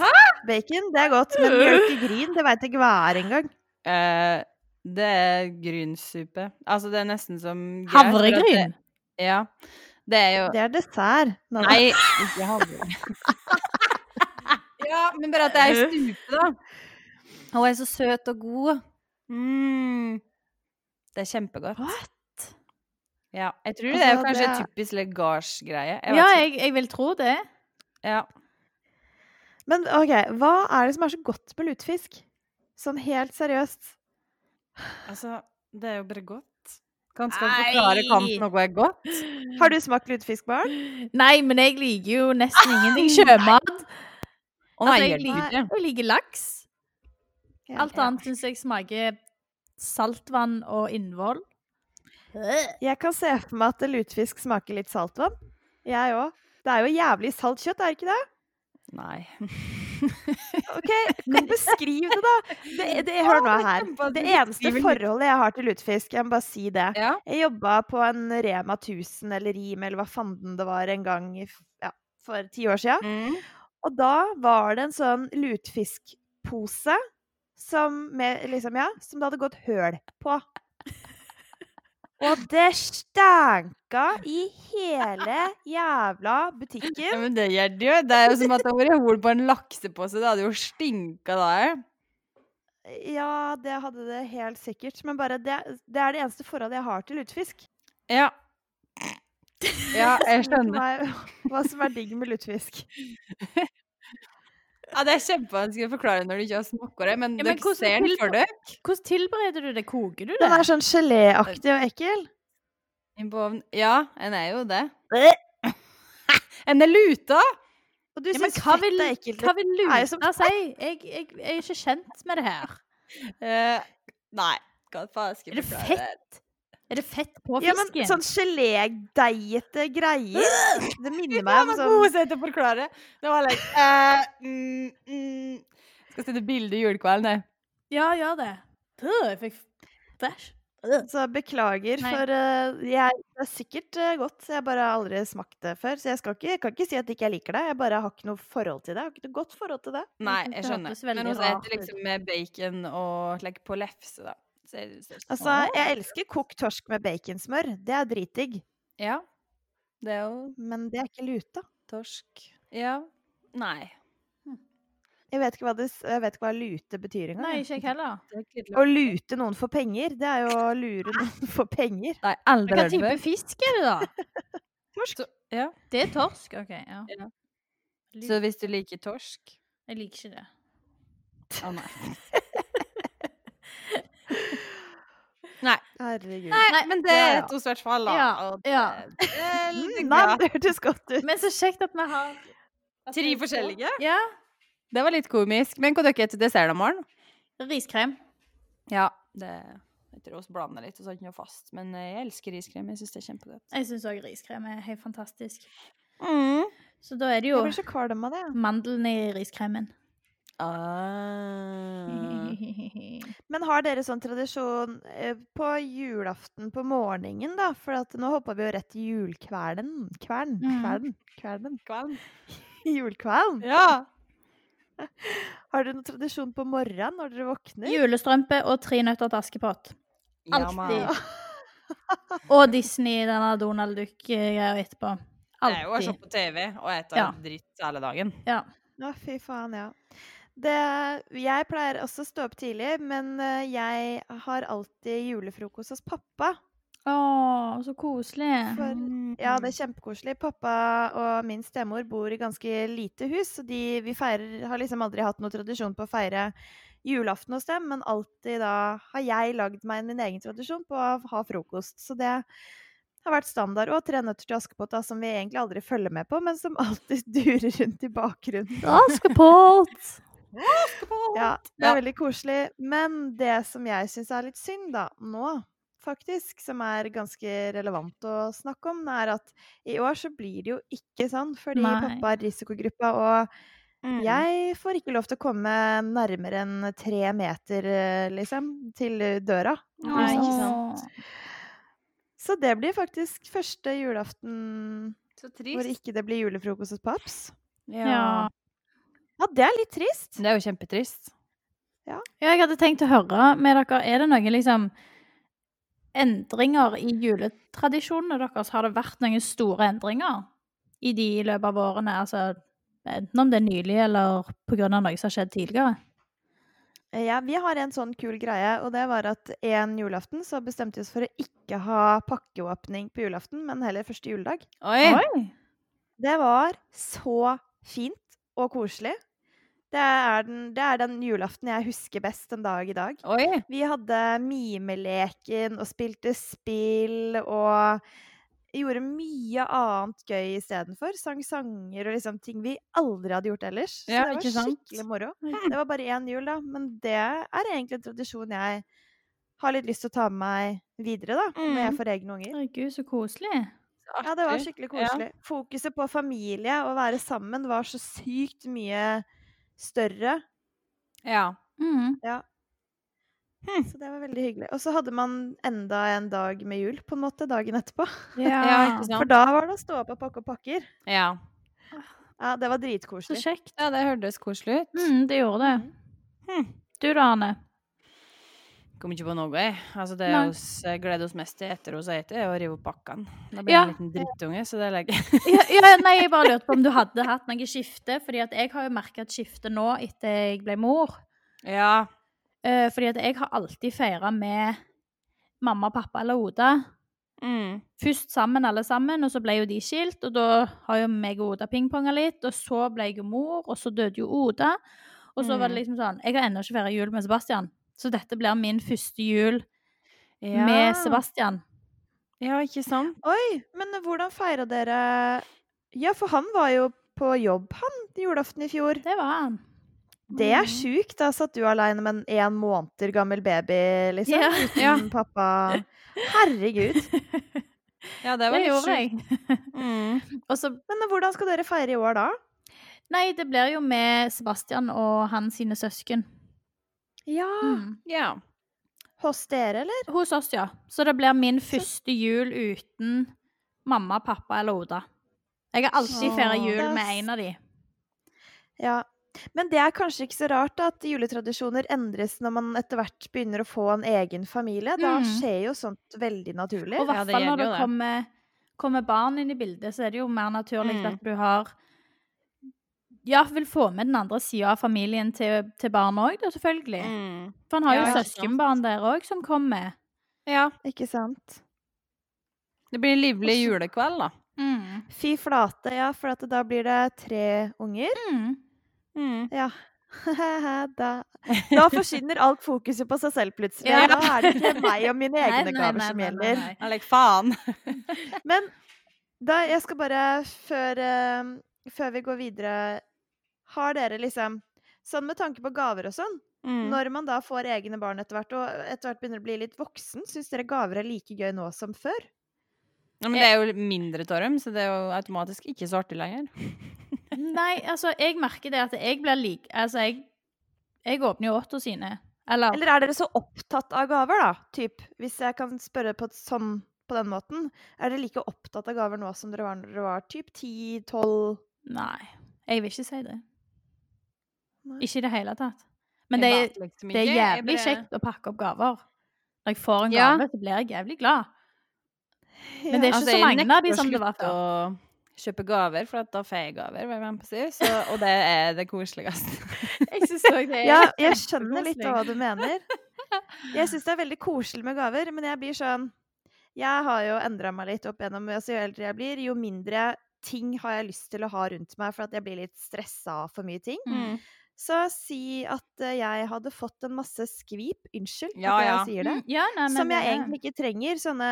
Bacon, det er godt. Men mjølkegryn, det veit jeg ikke hva er engang.
Eh, det er grynsuppe. Altså, det er nesten som grøt, for at
Havregryn? Sånn.
det- Ja. Det er jo
Det er dessert. Nå, da.
Nei, ikke havregryn. ja, men bare at det er i stupe, da. Og er så søt og god. Mm. Det er kjempegodt.
What?
Ja. Jeg tror det er
Altså,
kanskje
det-
typisk legasjegreie. Jeg vet
Ja,
ikke.
jeg, jeg vil tro det.
Ja.
Men OK, hva er det som er så godt med lutfisk? Sånn helt seriøst.
Altså, det er jo bare godt. Kan skal
Nei.
forklare kampen noe er godt.
Har du smakt lutfisk, barn?
Nei, men jeg liker jo nesten ingenting sjømat.
Å
Altså,
nei,
jeg
gjør det ikke.
liker, jeg liker laks.
Ja.
Alt annet syns jeg smaker saltvann og innvoll. Øh.
Jeg kan se for meg at lutfisk smaker litt saltvann. Jeg òg. Det er jo jævlig salt kjøtt, er det ikke det?
Nei.
Ok, men Beskriv det, da! Det, det, hør nå her. Det eneste forholdet jeg har til lutfisk, jeg må bare si det.
Ja.
Jeg jobba på en Rema 1000 eller Rim eller hva fanden det var en gang i, f- ja, for ti år sia.
Mm.
Og da var det en sånn lutfiskpose som, med, liksom, ja, som det hadde gått høl på. Og det stanka i hele jævla
Ja,
butikken.
men det gjør det jo. Det er jo som at det har vært hol på en laksepose. Det hadde jo stinka der.
Ja, det hadde det helt sikkert. Men bare det, det er det eneste forholdet jeg har til lutfisk.
Ja. Ja,
Spør
jeg
du
skjønner.
meg Hva som er digg med lutfisk.
Ja, det er kjempevanskelig å forklare når du ikke har smakt det, men,
Ja, men
dere
hvordan
ser den
vil-
for dere.
Hvordan tilbereder du det? Koker du det?
Den er sånn geléaktig og ekkel.
Inn på ovnen. Ja, en er jo det. En er luta!
Og du
Ja, men
syns
hva
fett
vil,
er ekkelt. liksom?
hva vil
er jo som
Luta si? Jeg, jeg, jeg er ikke kjent med det her.
Eh, nei. Hva faen skal
Er
jeg
det
forklare
fett? Er det fett på
Ja, men
fisken?
sånn gelédeigete greier. Det minner meg om
Det var
sånn
god sett å forklare. Det var like eh, mm, mm. Skal sette bilde i julekvelden, jeg.
Ja, gjør det. Øh, Jeg fikk bæsj.
Så beklager,
Nei.
for eh, jeg, det er sikkert eh, godt. Jeg bare har aldri smakt det før. Så jeg, skal ikke, jeg kan ikke si at ikke jeg liker det. Jeg bare har ikke noe forhold til det. Jeg har ikke noe godt forhold til det.
Nei,
synes
jeg
det
skjønner.
hørtes veldig
Men hun
rart
spiser liksom med bacon og like, på lefse, da. Så jeg- så-
Altså, jeg elsker kokt torsk med baconsmør. Det er dritdigg.
Ja. Det er jo
Men det er ikke luta.
torsk. Ja. Nei.
Jeg vet ikke hva, det, s- jeg vet ikke hva lute betyr engang.
Nei,
jeg.
ikke jeg heller.
Å lute noen for penger, det er jo å lure noen for penger.
Nei,
Hva
aldri
type fisk er det, da?
Torsk.
Ja.
Det er torsk. OK. ja.
Ja.
Lut-
Så hvis du liker torsk
Jeg liker ikke det.
Å nei. nei.
Herregud.
Nei, men det
Ja,
er
ja.
et hos hvert fall, da.
Ja,
og
ja.
Det, det er litt
Mm, nei,
bra.
det hørtes godt ut.
Men så kjekt at vi har at
Tre
vi-
forskjellige?
Ja.
Det var litt komisk. Men hva dere til dessert om morgenen?
Riskrem.
Ja, det jeg tror vi blander litt, og så er det ikke noe fast. Men eh, jeg elsker riskrem. Jeg syns det er kjempegodt.
Jeg syns òg riskrem er helt fantastisk.
Mm.
Så da er det
Jeg
jo
blir så kvalm av det. jeg.
mandelene i riskremen. Mm.
Ah.
Men har dere sånn tradisjon eh, på julaften på morgenen, da? For at nå hoppa vi jo rett til julkvelden. Kvern,
Mm.
kvelden, kvelden.
Kvalm.
Julkvelden.
Ja.
Har dere noen tradisjon på morgenen når dere våkner?
Julestrømpe og Tre nøtter til Askepott. Alltid.
Alltid.
Og Disney, denne Donald Duck-greia etterpå.
Jeg er jo å se
Alltid.
på TV og ete
Ja.
dritt hele dagen.
Ja.
Å, fy faen, ja. Det, jeg pleier også å stå opp tidlig, men eh, jeg har alltid julefrokost hos pappa.
Å, så koselig.
For Ja, det er kjempekoselig. Pappa og min stemor bor i ganske lite hus, så de, vi feirer, har liksom aldri hatt noen tradisjon på å feire julaften hos dem, men alltid da har jeg lagd meg min egen tradisjon på å ha frokost. Så det har vært standard. Og Tre nøtter til Askepott, da, som vi egentlig aldri følger med på, men som alltid durer rundt i bakgrunnen.
Askepott!
Ja, det er
Ja.
veldig koselig. Men det som jeg syns er litt synd, da, nå faktisk, som er ganske relevant å snakke om, det er at i år så blir det jo ikke sånn, fordi
Nei.
pappa er risikogruppa, og
Mm.
jeg får ikke lov til å komme nærmere enn tre meter, eh, liksom, til eh, døra.
Nei, ikke sant.
Så det blir faktisk første julaften
Så
hvor ikke det blir julefrokost hos paps.
Ja.
Ja, det er litt trist.
Det er jo kjempetrist.
Ja, jeg hadde tenkt å høre med dere. Er det noen liksom endringer i juletradisjonene deres? Har det vært noen store endringer i de i løpet av årene? Altså, enten om det er nylig, eller på grunn av noe som har skjedd tidligere?
Eh, Ja, vi har en sånn kul greie, og det var at en julaften så bestemte vi oss for å ikke ha pakkeåpning på julaften, men heller første juledag.
Oi!
Det var så fint og koselig. Det er den, det er den julaften jeg husker best den dag i dag.
Oi.
Vi hadde mimeleken og spilte spill og gjorde mye annet gøy istedenfor. Sang sanger og liksom ting vi aldri hadde gjort ellers. Så
Ja,
det var
ikke sant?
skikkelig moro. Det var bare én jul, da. Men det er egentlig en tradisjon jeg har litt lyst til å ta med meg videre, da. Når jeg
Mm.
får egne unger.
Herregud, så koselig.
Ja, det var skikkelig
Ja.
koselig. Fokuset på familie og være sammen var så sykt mye større.
Ja.
Mm.
Så det var veldig hyggelig. Og så hadde man enda en dag med jul, på en måte, dagen etterpå.
Ja,
ja, ikke
For
sant?
da var det å stå opp og pakke og pakker.
Ja.
Ja, det var
Så
dritkoselig.
kjekt.
ja, det hørtes koselig ut.
Mm, det gjorde det. Hm.
Hmm.
Du da, Anne?
Kom ikke på noe, jeg. Altså, det
Nei.
oss, jeg gleder oss mest til etter oss eter, er å rive opp pakkene. Da blir jeg
Ja.
en liten drittunge, så det legger jeg.
Ja, ja, nei, jeg bare lurte på om du hadde hatt noe skifte, fordi at jeg har jo merka et skifte nå etter jeg ble mor.
Ja.
Eh, fordi at jeg har alltid feira med mamma, pappa eller Oda.
Mm.
Først sammen, alle sammen, og så ble jo de skilt. Og da har jo meg og Oda pingponga litt, og så ble jeg jo mor, og så døde jo Oda. Og så var det liksom sånn Jeg har ennå ikke feira jul med Sebastian, så dette blir min første jul
Ja.
med Sebastian.
Ja, ikke sant?
Oi, men hvordan feira dere Ja, for han var jo på jobb, han, julaften i fjor.
Det Mhm. var han. Mm.
Det er sjukt. Da satt du aleine med en én måneder gammel baby, liksom.
Ja.
Uten
Ja.
pappa. Herregud.
Ja,
Det,
det var litt
gjorde
sjukt.
jeg.
Mm.
Og så
Men hvordan skal dere feire i år, da?
Nei, det blir jo med Sebastian og hans sine søsken.
Ja.
Mm.
Ja.
Hos dere, eller?
Hos oss, ja. Så det blir min første jul uten mamma, pappa eller Oda. Jeg har alltid
Åh.
feira jul
Det er
med
s-
en av de.
Ja. Men det er kanskje ikke så rart da, at juletradisjoner endres når man etter hvert begynner å få en egen familie. Da
Mm.
skjer jo sånt veldig naturlig.
Og i
Ja,
hvert
det
fall når
gjelder
det
jo det.
kommer, kommer barn inn i bildet, så er det jo mer naturlig
Mm.
at du har ja, vil få med den andre sida av familien til, til barna òg, da, selvfølgelig.
Mm.
For han har
Ja,
jo
ikke
søskenbarn der òg som kommer.
Ja.
Ikke sant?
Det blir livlig julekveld, da.
Mm.
Fy flate, ja, for at da blir det tre unger.
Mm.
Mm.
Ja. da, da forsvinner alt fokuset på seg selv plutselig.
Ja.
Da er det ikke meg og mine
Nei,
egne
nei,
gaver
nei,
som
nei,
gjelder.
nei, nei.
Eller faen.
Men da, jeg skal bare før, eh, før vi går videre Har dere liksom Sånn med tanke på gaver og sånn
Mm.
Når man da får egne barn etter hvert, og etter hvert begynner å bli litt voksen, syns dere gaver er like gøy nå som før?
Ja, men det er jo mindre Torm, så det er jo automatisk ikke så artig lenger.
Nei, altså, jeg merker det at jeg blir lik Altså, jeg, jeg åpner jo Otto sine. Eller,
Eller er dere så opptatt av gaver, da? Typ, hvis jeg kan spørre på, et sånn, på den måten. Er dere like opptatt av gaver nå som dere var når dere var typ 10-12?
Nei. Jeg vil ikke si det.
Nei.
Ikke i det hele tatt. Men det, er-
vet liksom
det er
ikke. Jeg
jævlig
bare-
kjekt å pakke opp gaver. Når jeg får en
Ja.
gave, så blir jeg jævlig glad. Men det er
Ja.
ikke så
Altså, jeg
mange av de
nekter å
som det var
slutte
før.
å Kjøpe gaver, for at da får jeg gaver, hva jeg mener på å si. Så, og det er det koseligste.
Jeg synes også det er
ja, jeg skjønner litt av
kjempekoselig.
hva du mener. Jeg syns det er veldig koselig med gaver, men jeg blir sånn Jeg har jo endra meg litt opp gjennom altså, Jo eldre jeg blir, jo mindre ting har jeg lyst til å ha rundt meg, for at jeg blir litt stressa av for mye ting.
Mm.
Så si at eh, jeg hadde fått en masse skvip, unnskyld
Ja,
at jeg
ja.
sier det,
Mm, Ja, nei, men
som jeg
det er-
egentlig ikke trenger. Sånne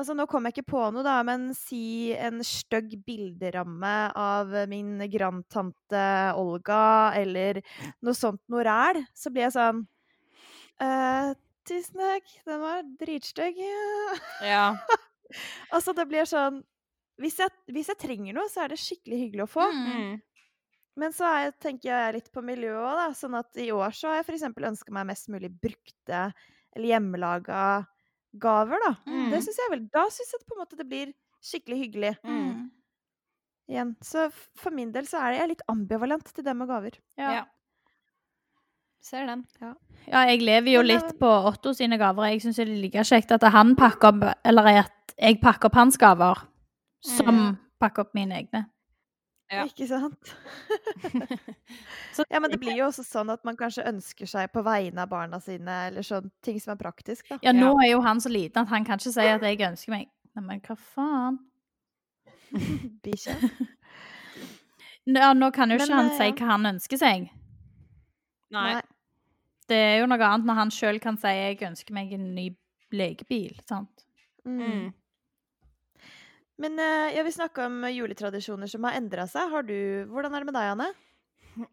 Altså, nå kom jeg ikke på noe, da, men si en stygg bilderamme av eh, min grandtante Olga, eller noe sånt noe ræl, så blir jeg sånn eh, Tusen takk, den var dritstygg.
Ja.
altså, det blir sånn hvis jeg, hvis jeg trenger noe, så er det skikkelig hyggelig å få.
Mm.
Mm.
Men så er, jeg- tenker jeg litt på miljøet òg, da. Sånn at i år så har jeg f.eks. ønska meg mest mulig brukte eller hjemmelaga gaver, da.
Mm.
Det syns jeg vel. Da syns jeg på en måte det blir skikkelig hyggelig
Mm.
Mm.
igjen. Så f- for min del så er jeg litt ambivalent til det med gaver.
Ja.
Ja. Ser den.
Ja, jeg lever jo
Men det-
litt på Otto sine gaver. Jeg syns det er like kjekt at han pakker opp Eller at jeg pakker opp hans gaver, som
Mm.
pakker opp mine egne.
Ja.
Ikke sant?
Så-
ja, men det blir jo også sånn at man kanskje ønsker seg på vegne av barna sine, eller sånn ting som er praktisk, da.
Ja, nå er jo han så liten at han kan ikke si at jeg ønsker meg Nei, men hva faen?
Bikkje.
Nå, nå kan jo
Men,
ikke han
eh,
si
ja.
hva han ønsker seg.
Nei.
Det er jo noe annet når han sjøl kan si 'jeg ønsker meg en ny lekebil'. sant?
Mm.
Mm.
Men eh, jeg vil snakke om juletradisjoner som har endra seg. Har du, hvordan er det med deg, Anne?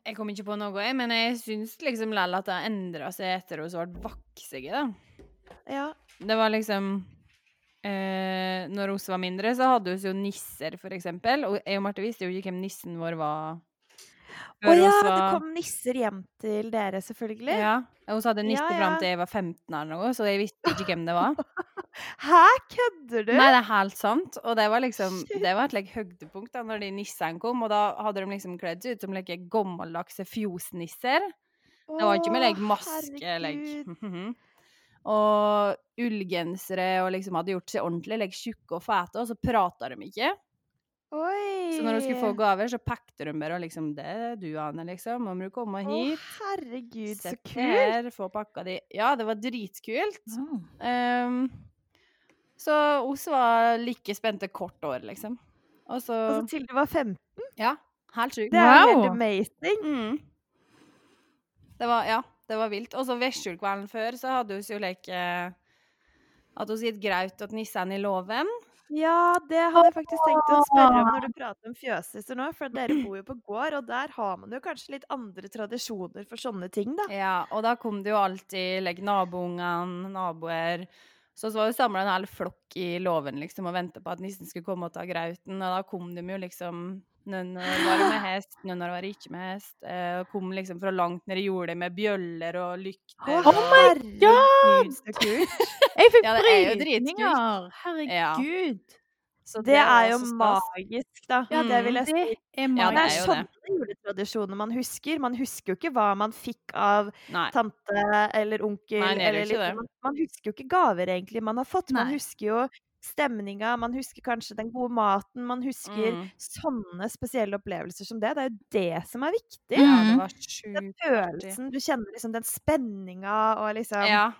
Jeg kom ikke på noe, jeg, men jeg syns liksom lell at det har endra seg etter hun ble vaksig, da.
Ja,
Det var liksom eh, Når oss var mindre, så hadde vi jo nisser, for eksempel. Og jeg og Marte visste jo ikke hvem nissen vår var.
Å ja,
oss
det
var-
kom nisser hjem til dere, selvfølgelig.
Ja, og så hadde jeg nisse
Ja,
fram
ja.
til jeg var 15 eller noe, så jeg visste ikke hvem det var.
Hæ, kødder du?
Nei, det er helt sant. Og det var liksom
Shit.
Det var et like, høydepunkt da når de nissene kom, og da hadde de liksom kledd seg ut som like, gammeldagse fjosnisser. Det var ikke med Mhm. like,
Å,
maske
herregud.
like. Og ullgensere og liksom hadde gjort seg ordentlig, like, tjukke og fete, og så prata de ikke.
Oi.
Så når hun skulle få gaver, så pekte hun bare og liksom Det er du, Ane, liksom. Om du kommer
Å,
hit,
herregud, så
sett deg
kult.
her, få pakka di. Ja, det var dritkult.
Oh.
Ehm, så oss var like spente kort år, liksom. Og så
Altså til du var 15.
Ja, helt sjukt.
Det er jo
Wow.
helt amazing.
Mm. Det var Ja, det var vilt. Og så Vestkjulkvelden før, så hadde vi jo leke at vi gitt graut til nissen i låven.
Ja, det hadde jeg faktisk tenkt å spørre om når du prater om fjøsnisser nå, for dere bor jo på gård, og der har man jo kanskje litt andre tradisjoner for sånne ting, da.
Ja, og da kom det jo alltid like, naboungene, naboer. Så, så var det samla en hel flokk i låven liksom, og venta på at nissen skulle komme og ta grauten. Og da kom de jo liksom Noen år var det med hest, noen år var det ikke med hest. eh, Og kom liksom fra langt ned i jordet med bjøller og lykter.
Oh
og-
my
herregud, så kult.
Jeg fikk
Ja, det er jo
brytninger! Herregud.
så
Det er
var
jo
så stas.
magisk, da. Mm.
Ja,
det vil jeg si.
Det er
Ja,
det er,
magisk.
jo
sånne juletradisjoner man husker. Man husker jo ikke hva man fikk av
Nei.
tante eller onkel.
Nei, man
eller
gjør jo ikke
liksom,
det.
man, man husker jo ikke gaver, egentlig, man har fått. Man
Nei.
husker jo stemninga, man husker kanskje den gode maten, man husker
Mm.
sånne spesielle opplevelser som det. Det er jo det som er viktig.
Ja, det
Mm.
var
Den
sjukt.
følelsen, du kjenner liksom den spenninga og liksom
Ja,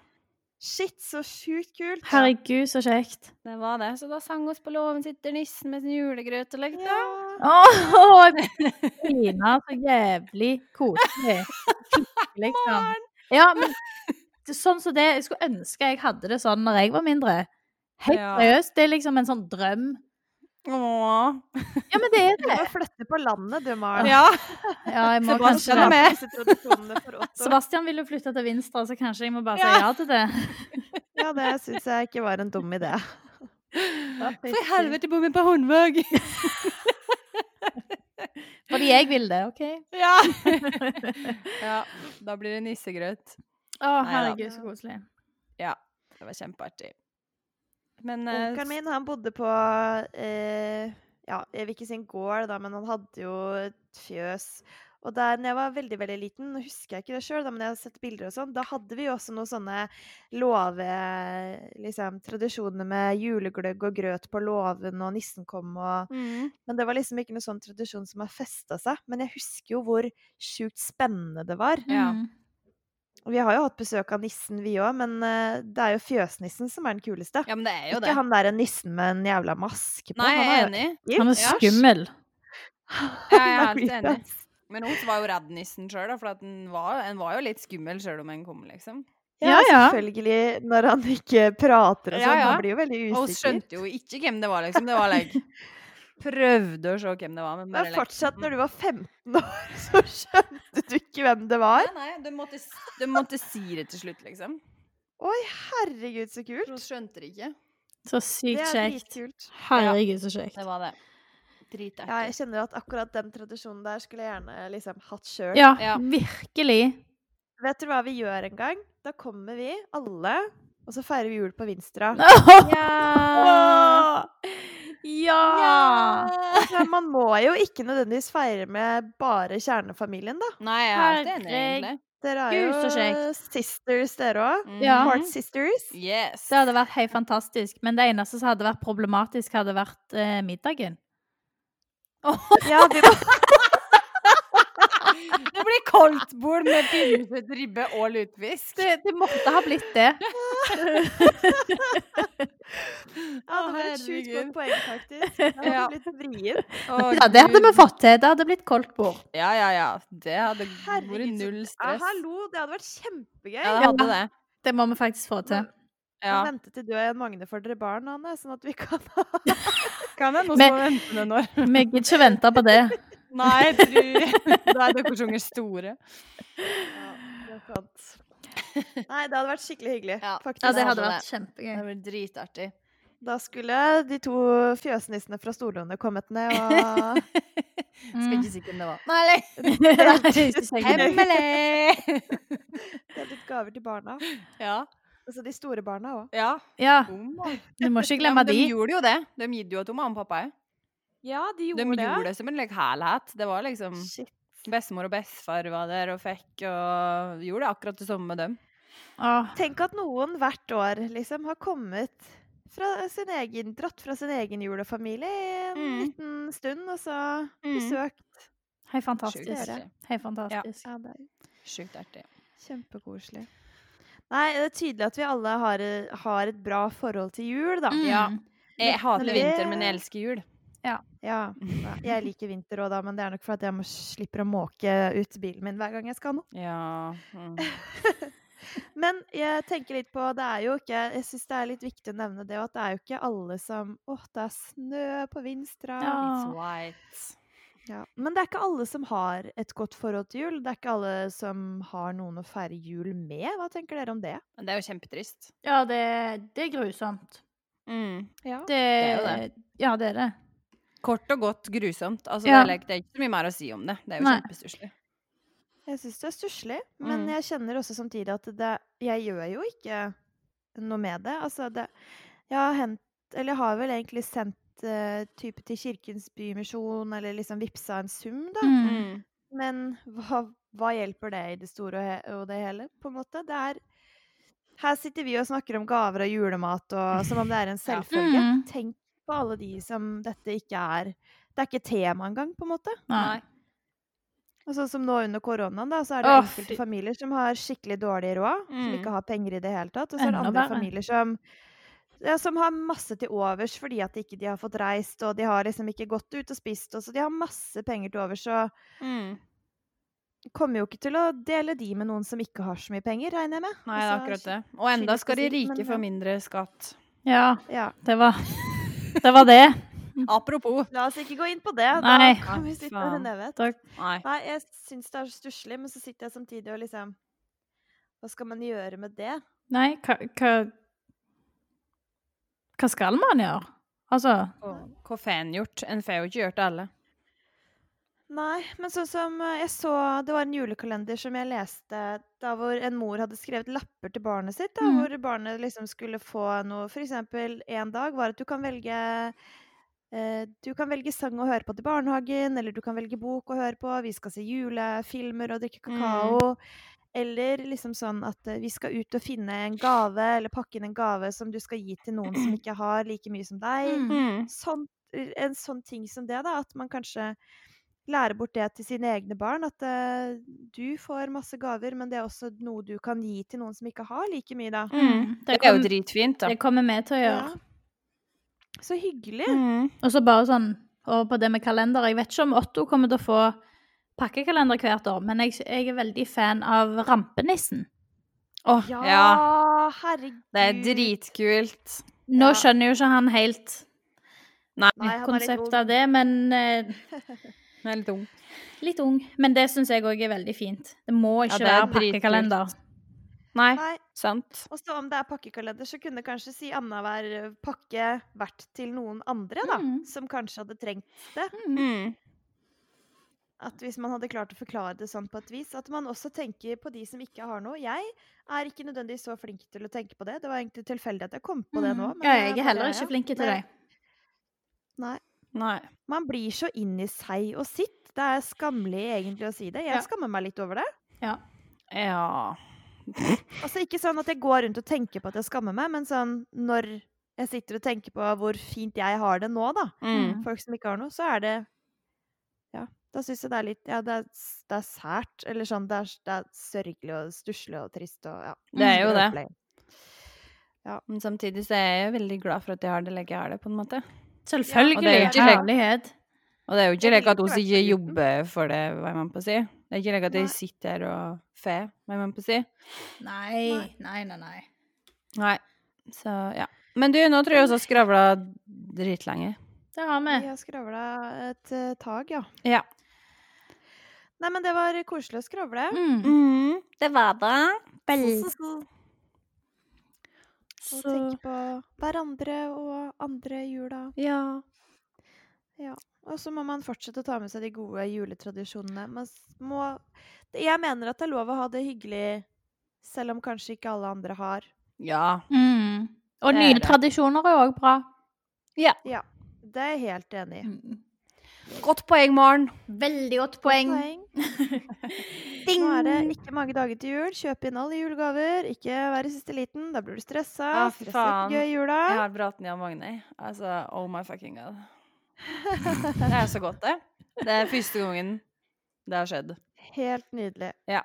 Shit, så sjukt kult!
Herregud, så kjekt.
det var det. Så da sang oss på låven sitter nissen med sin julegrøt og lekte.
Ja.
Åh, Tina, så jævlig koselig. Liksom.
Barn!
Ja, men det, er sånn som det Jeg skulle ønske jeg hadde det sånn når jeg var mindre. Helt
Ja.
seriøst. Det er liksom en sånn drøm.
Åh.
Ja, men det er
Du
det.
må flytte på landet, du, Maren.
Ja.
Ja, jeg må kanskje
Sebastian er
det.
med.
Disse tradisjonene for Otto.
Sebastian vil jo flytte til Vinstra, så kanskje jeg må bare
Ja.
si ja til det.
Ja, det syns jeg ikke var en dum idé.
For helvete, bor vi på Hundvåg?
Fordi jeg vil det, OK?
Ja. ja. Da blir det nissegrøt.
Å,
Neida.
herregud, så koselig.
Det var kjempeartig. Men eh,
Onkelen min, han bodde på eh, Ja, jeg vil ikke si en gård, da, men han hadde jo et fjøs. Og der når jeg var veldig veldig liten, nå husker jeg ikke det sjøl, men jeg har sett bilder og sånn, da hadde vi jo også noen sånne låve... Liksom tradisjoner med julegløgg og grøt på låven, og nissen kom og
mm.
Men det var liksom ikke noen sånn tradisjon som har festa seg. Men jeg husker jo hvor sjukt spennende det var.
Ja.
Mm.
Og vi har jo hatt besøk av nissen, vi òg, men eh, det er jo fjøsnissen som er den kuleste.
Ja, men det er jo
Ikke
det.
han derre nissen med en jævla maske på.
Nei, jeg er
han
enig.
jo
Han er
Ja.
skummel.
Ja, jeg er
Han
helt
creepy,
enig. Men hun var jo redd nissen sjøl, for at den, var, den var jo litt skummel sjøl om den kom, liksom.
Ja,
Ja, ja.
selvfølgelig. Når han ikke prater og
Ja,
sånn.
ja.
Han blir jo veldig
Og hun
usikker.
skjønte jo ikke hvem det var, liksom. Det var like Prøvde å se hvem det var, men bare
Men
like,
fortsatt, når du var 15 år, så skjønte du ikke hvem det var.
Nei, nei, de måtte, s- de måtte si det til slutt, liksom.
Oi, herregud, så
For hun
kult.
skjønte det ikke.
Så
Det
sykt
er
kjekt.
dritkult.
Herregud, så kjekt.
Det var det.
Ja, jeg
Dritartig.
kjenner at akkurat den tradisjonen der skulle jeg gjerne liksom hatt sjøl.
Ja,
Ja.
virkelig.
Vet du hva vi gjør en gang? Da kommer vi, alle, og så feirer vi jul på Vinstra.
Ja! Ja!
Så man må jo ikke nødvendigvis feire med bare kjernefamilien, da.
Nei, jeg er helt enig, egentlig.
Dere er
Gud,
jo
så kjekt.
sisters, dere òg.
Ja.
Part sisters.
Mhm. Yes.
Det hadde vært helt fantastisk, men det eneste som hadde vært problematisk, hadde vært eh, middagen.
Ja, vi må,
Det blir koldtbord med pinnekjøtt, ribbe og lutefisk.
Det, det måtte ha blitt det.
ja det var et sjukt godt poeng, faktisk. Det hadde
Ja.
blitt vrient.
Ja, det hadde vi fått til. Det hadde blitt koldtbord.
Ja, ja, ja. Det hadde vært
Herregud, så-
null
Ja,
stress.
hallo, det hadde vært kjempegøy.
Ja, det hadde det.
Det må vi faktisk få til.
Ja.
Kan vente til du og Jan Magne får dere barn, Anne, sånn at vi kan
Kan jeg nå
Men-
vente noen år?
Vi gidder ikke vente på det.
Nei, tru. Da er dere unger store.
Nei, det hadde vært skikkelig hyggelig,
Ja.
faktisk.
Ja, det hadde vært kjempegøy.
Det blir dritartig.
Da skulle de to fjøsnissene fra Storlåne kommet ned og
Skal
Mm.
ikke si hvem det var. Nei,
Hemmelig.
hemmelig!
delt ut gaver til barna.
Ja.
Altså de store barna òg.
Ja.
Ja,
Om, og-
du må ikke
Ja,
glemme
men
de.
De gjorde jo det. De gidde jo til mamma og pappa. jeg.
Ja, de
De gjorde det som en like, herlighet. Det var liksom
Shit.
Bestemor og bestefar var der og fikk og gjorde akkurat det samme med dem.
Åh,
Tenk at noen hvert år liksom har kommet fra sin egen, dratt fra sin egen julefamilie i en
Mm.
liten stund, og så
Mm.
besøkt.
Helt
Sjukt
fantastisk.
artig.
Helt fantastisk.
Ja, det er
Sjukt artig.
kjempekoselig. Nei, det er tydelig at vi alle har, har et bra forhold til jul, da.
Mm.
Ja. Jeg hater
det-
vinter, men jeg elsker jul.
Ja. Nei, Jeg liker vinter òg, da, men det er nok fordi at jeg må, slipper å måke ut bilen min hver gang jeg skal nå.
Ja. Mm.
Men jeg tenker litt på Det er jo ikke Jeg syns det er litt viktig å nevne det, og at det er jo ikke alle som Åh, det er snø på Vinstra.
Ja.
It's white.
Ja. Men det er ikke alle som har et godt forhold til jul. Det er ikke alle som har noen å feire jul med. Hva tenker dere om det?
Men det er jo kjempetrist.
Ja, det, det er grusomt.
Mm.
Ja.
Det,
er jo
Ja, det er det.
Kort og godt grusomt. Altså,
Ja.
det, er, like- det er ikke så mye mer å si om det. Det er jo
Nei.
kjempestusslig.
Jeg syns det er stusslig, men
Mm.
jeg kjenner også samtidig at det Jeg gjør jo ikke noe med det. Altså, det Jeg har hent Eller jeg har vel egentlig sendt eh, type til Kirkens Bymisjon, eller liksom vippsa en sum, da.
Mm.
Men hva, hva hjelper det i det store og he- og det hele, på en måte? Det er Her sitter vi og snakker om gaver og julemat og som om det er en selvfølge.
Mm.
Tenk på alle de som dette ikke er Det er ikke tema engang, på en måte.
Nei.
Og sånn som nå under koronaen, da, så er det
Å,
enkelte
fy.
familier som har skikkelig dårlig råd, som
Mm.
ikke har penger i det hele tatt. Og så er det
Enda
andre
verre.
familier som, ja, som har masse til overs fordi at ikke de har fått reist, og de har liksom ikke gått ut og spist, og så de har masse penger til overs, så
Mm.
kommer jo ikke til å dele de med noen som ikke har så mye penger, regner jeg med.
Nei, det er
Altså,
akkurat det. Og enda
skyldes
skal de
det sikkert,
rike
men
få
ja.
mindre skatt.
Ja,
Ja.
det var Det var det.
Apropos.
La oss ikke gå inn på det.
Nei.
Da kan vi sitte her
Faen.
en evighet.
Da,
Nei.
Nei, jeg syns det er stusslig, men så sitter jeg samtidig og liksom Hva skal man gjøre med det?
nei, hva, hva Hva skal man gjøre? Altså
Hva faen gjort? En får jo ikke gjort det alle.
Nei, men sånn som eh, jeg så Det var en julekalender som jeg leste, da hvor en mor hadde skrevet lapper til barnet sitt, da,
Mm.
hvor barnet liksom skulle få noe For eksempel en dag var at du kan velge eh, du kan velge sang å høre på til barnehagen, eller du kan velge bok å høre på. Vi skal se julefilmer og drikke kakao. Eller liksom sånn at eh, vi skal ut og finne en gave, eller pakke inn en gave som du skal gi til noen som ikke har like mye som deg
mm.
sånn, en sånn ting som det, da, at man kanskje lærer bort det til sine egne barn. At eh, du får masse gaver, men det er også noe du kan gi til noen som ikke har like mye, da.
Mm.
Det
Det,
er jo
kom,
dritfint, da.
det kommer vi til å gjøre.
Ja. Så hyggelig.
Mm.
Og så bare sånn over på det med kalender. Jeg vet ikke om Otto kommer til å få pakkekalender hvert år, men jeg, jeg er veldig fan av rampenissen.
Åh,
Ja,
ja.
herregud.
Det er dritkult.
Nå
Ja.
skjønner jo ikke han helt
Nei, han er litt
konseptet
ung.
av det, men eh,
Det er litt ung.
litt ung. Men det syns jeg òg er veldig fint. Det må
Ja,
ikke
det er
være pakkekalender.
Nei,
Nei.
sant.
Og så om det er pakkekalender, så kunne kanskje si annenhver eh, pakke vært til noen andre, da.
Mm.
Som kanskje hadde trengt det.
Mm.
At hvis man hadde klart å forklare det sånn på et vis, at man også tenker på de som ikke har noe. Jeg er ikke nødvendigvis så flink til å tenke på det. Det var egentlig tilfeldig at jeg kom på det nå.
Mm. Ja, jeg er heller ikke
flink.
flink til
Nei.
det.
Nei.
Nei.
Man blir så inn i seg og sitt. Det er skammelig egentlig å si det. Jeg
Ja.
skammer meg litt over det.
Ja.
Altså ikke sånn at jeg går rundt og tenker på at jeg skammer meg, men sånn når jeg sitter og tenker på hvor fint jeg har det nå, da.
Mm.
Folk som ikke har noe, så er det Ja, da syns jeg det er litt Ja, det er, s- det er sært. Eller sånn, det er, det er sørgelig og stusslig og trist og ja.
Det er jo det.
Opplegg.
Men samtidig så er jeg veldig glad for at jeg har det like jeg har det, på en måte. Og
Selvfølgelig.
det er jo ikke lek-
Herlighet.
Og det er jo ikke
Jeg
like
liker
at hun
hvertfall
ikke
uten.
jobber for det, hva man på å si. Det er ikke like at
Nei.
jeg sitter her og får, hva man på å si.
Nei, nei, nei. nei.
Nei. Så, ja. Men du, nå tror jeg vi har skravla dritlenge.
Det har vi.
Vi har skravla et eh, tag, ja.
Ja.
Nei, men det var koselig å skravle.
Mm.
Mm, det var det.
Og
Så
tenke på hverandre og andre i jula.
Ja.
Og så må man fortsette å ta med seg de gode juletradisjonene. Man s- må Jeg mener at det er lov å ha det hyggelig, selv om kanskje ikke alle andre har.
Ja.
mm. Og
Det er
nye
det.
tradisjoner er òg bra.
Det er jeg helt enig
Mm.
i.
Mm.
Godt poeng, Maren.
Veldig godt poeng.
Poeng. Nå er det ikke mange dager til jul. Kjøp inn alle julegaver. Ikke vær i siste liten. Da blir du stressa.
Ja, fy
Stress er
faen.
ikke gøy i jula.
Jeg har praten Jan Magne. Altså, oh my fucking god. Det er så godt, det. Det er første gangen det har skjedd.
Helt nydelig.
Ja.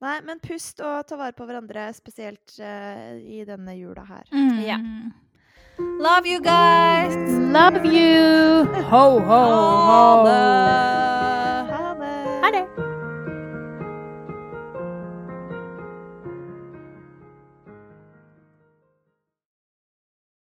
Nei, men pust og ta vare på hverandre, spesielt eh, i denne jula her.
Mm.
Ja. Love you guys!
Love you! Ho, ho, ho.
Ha det!
Ha det!
Ha det.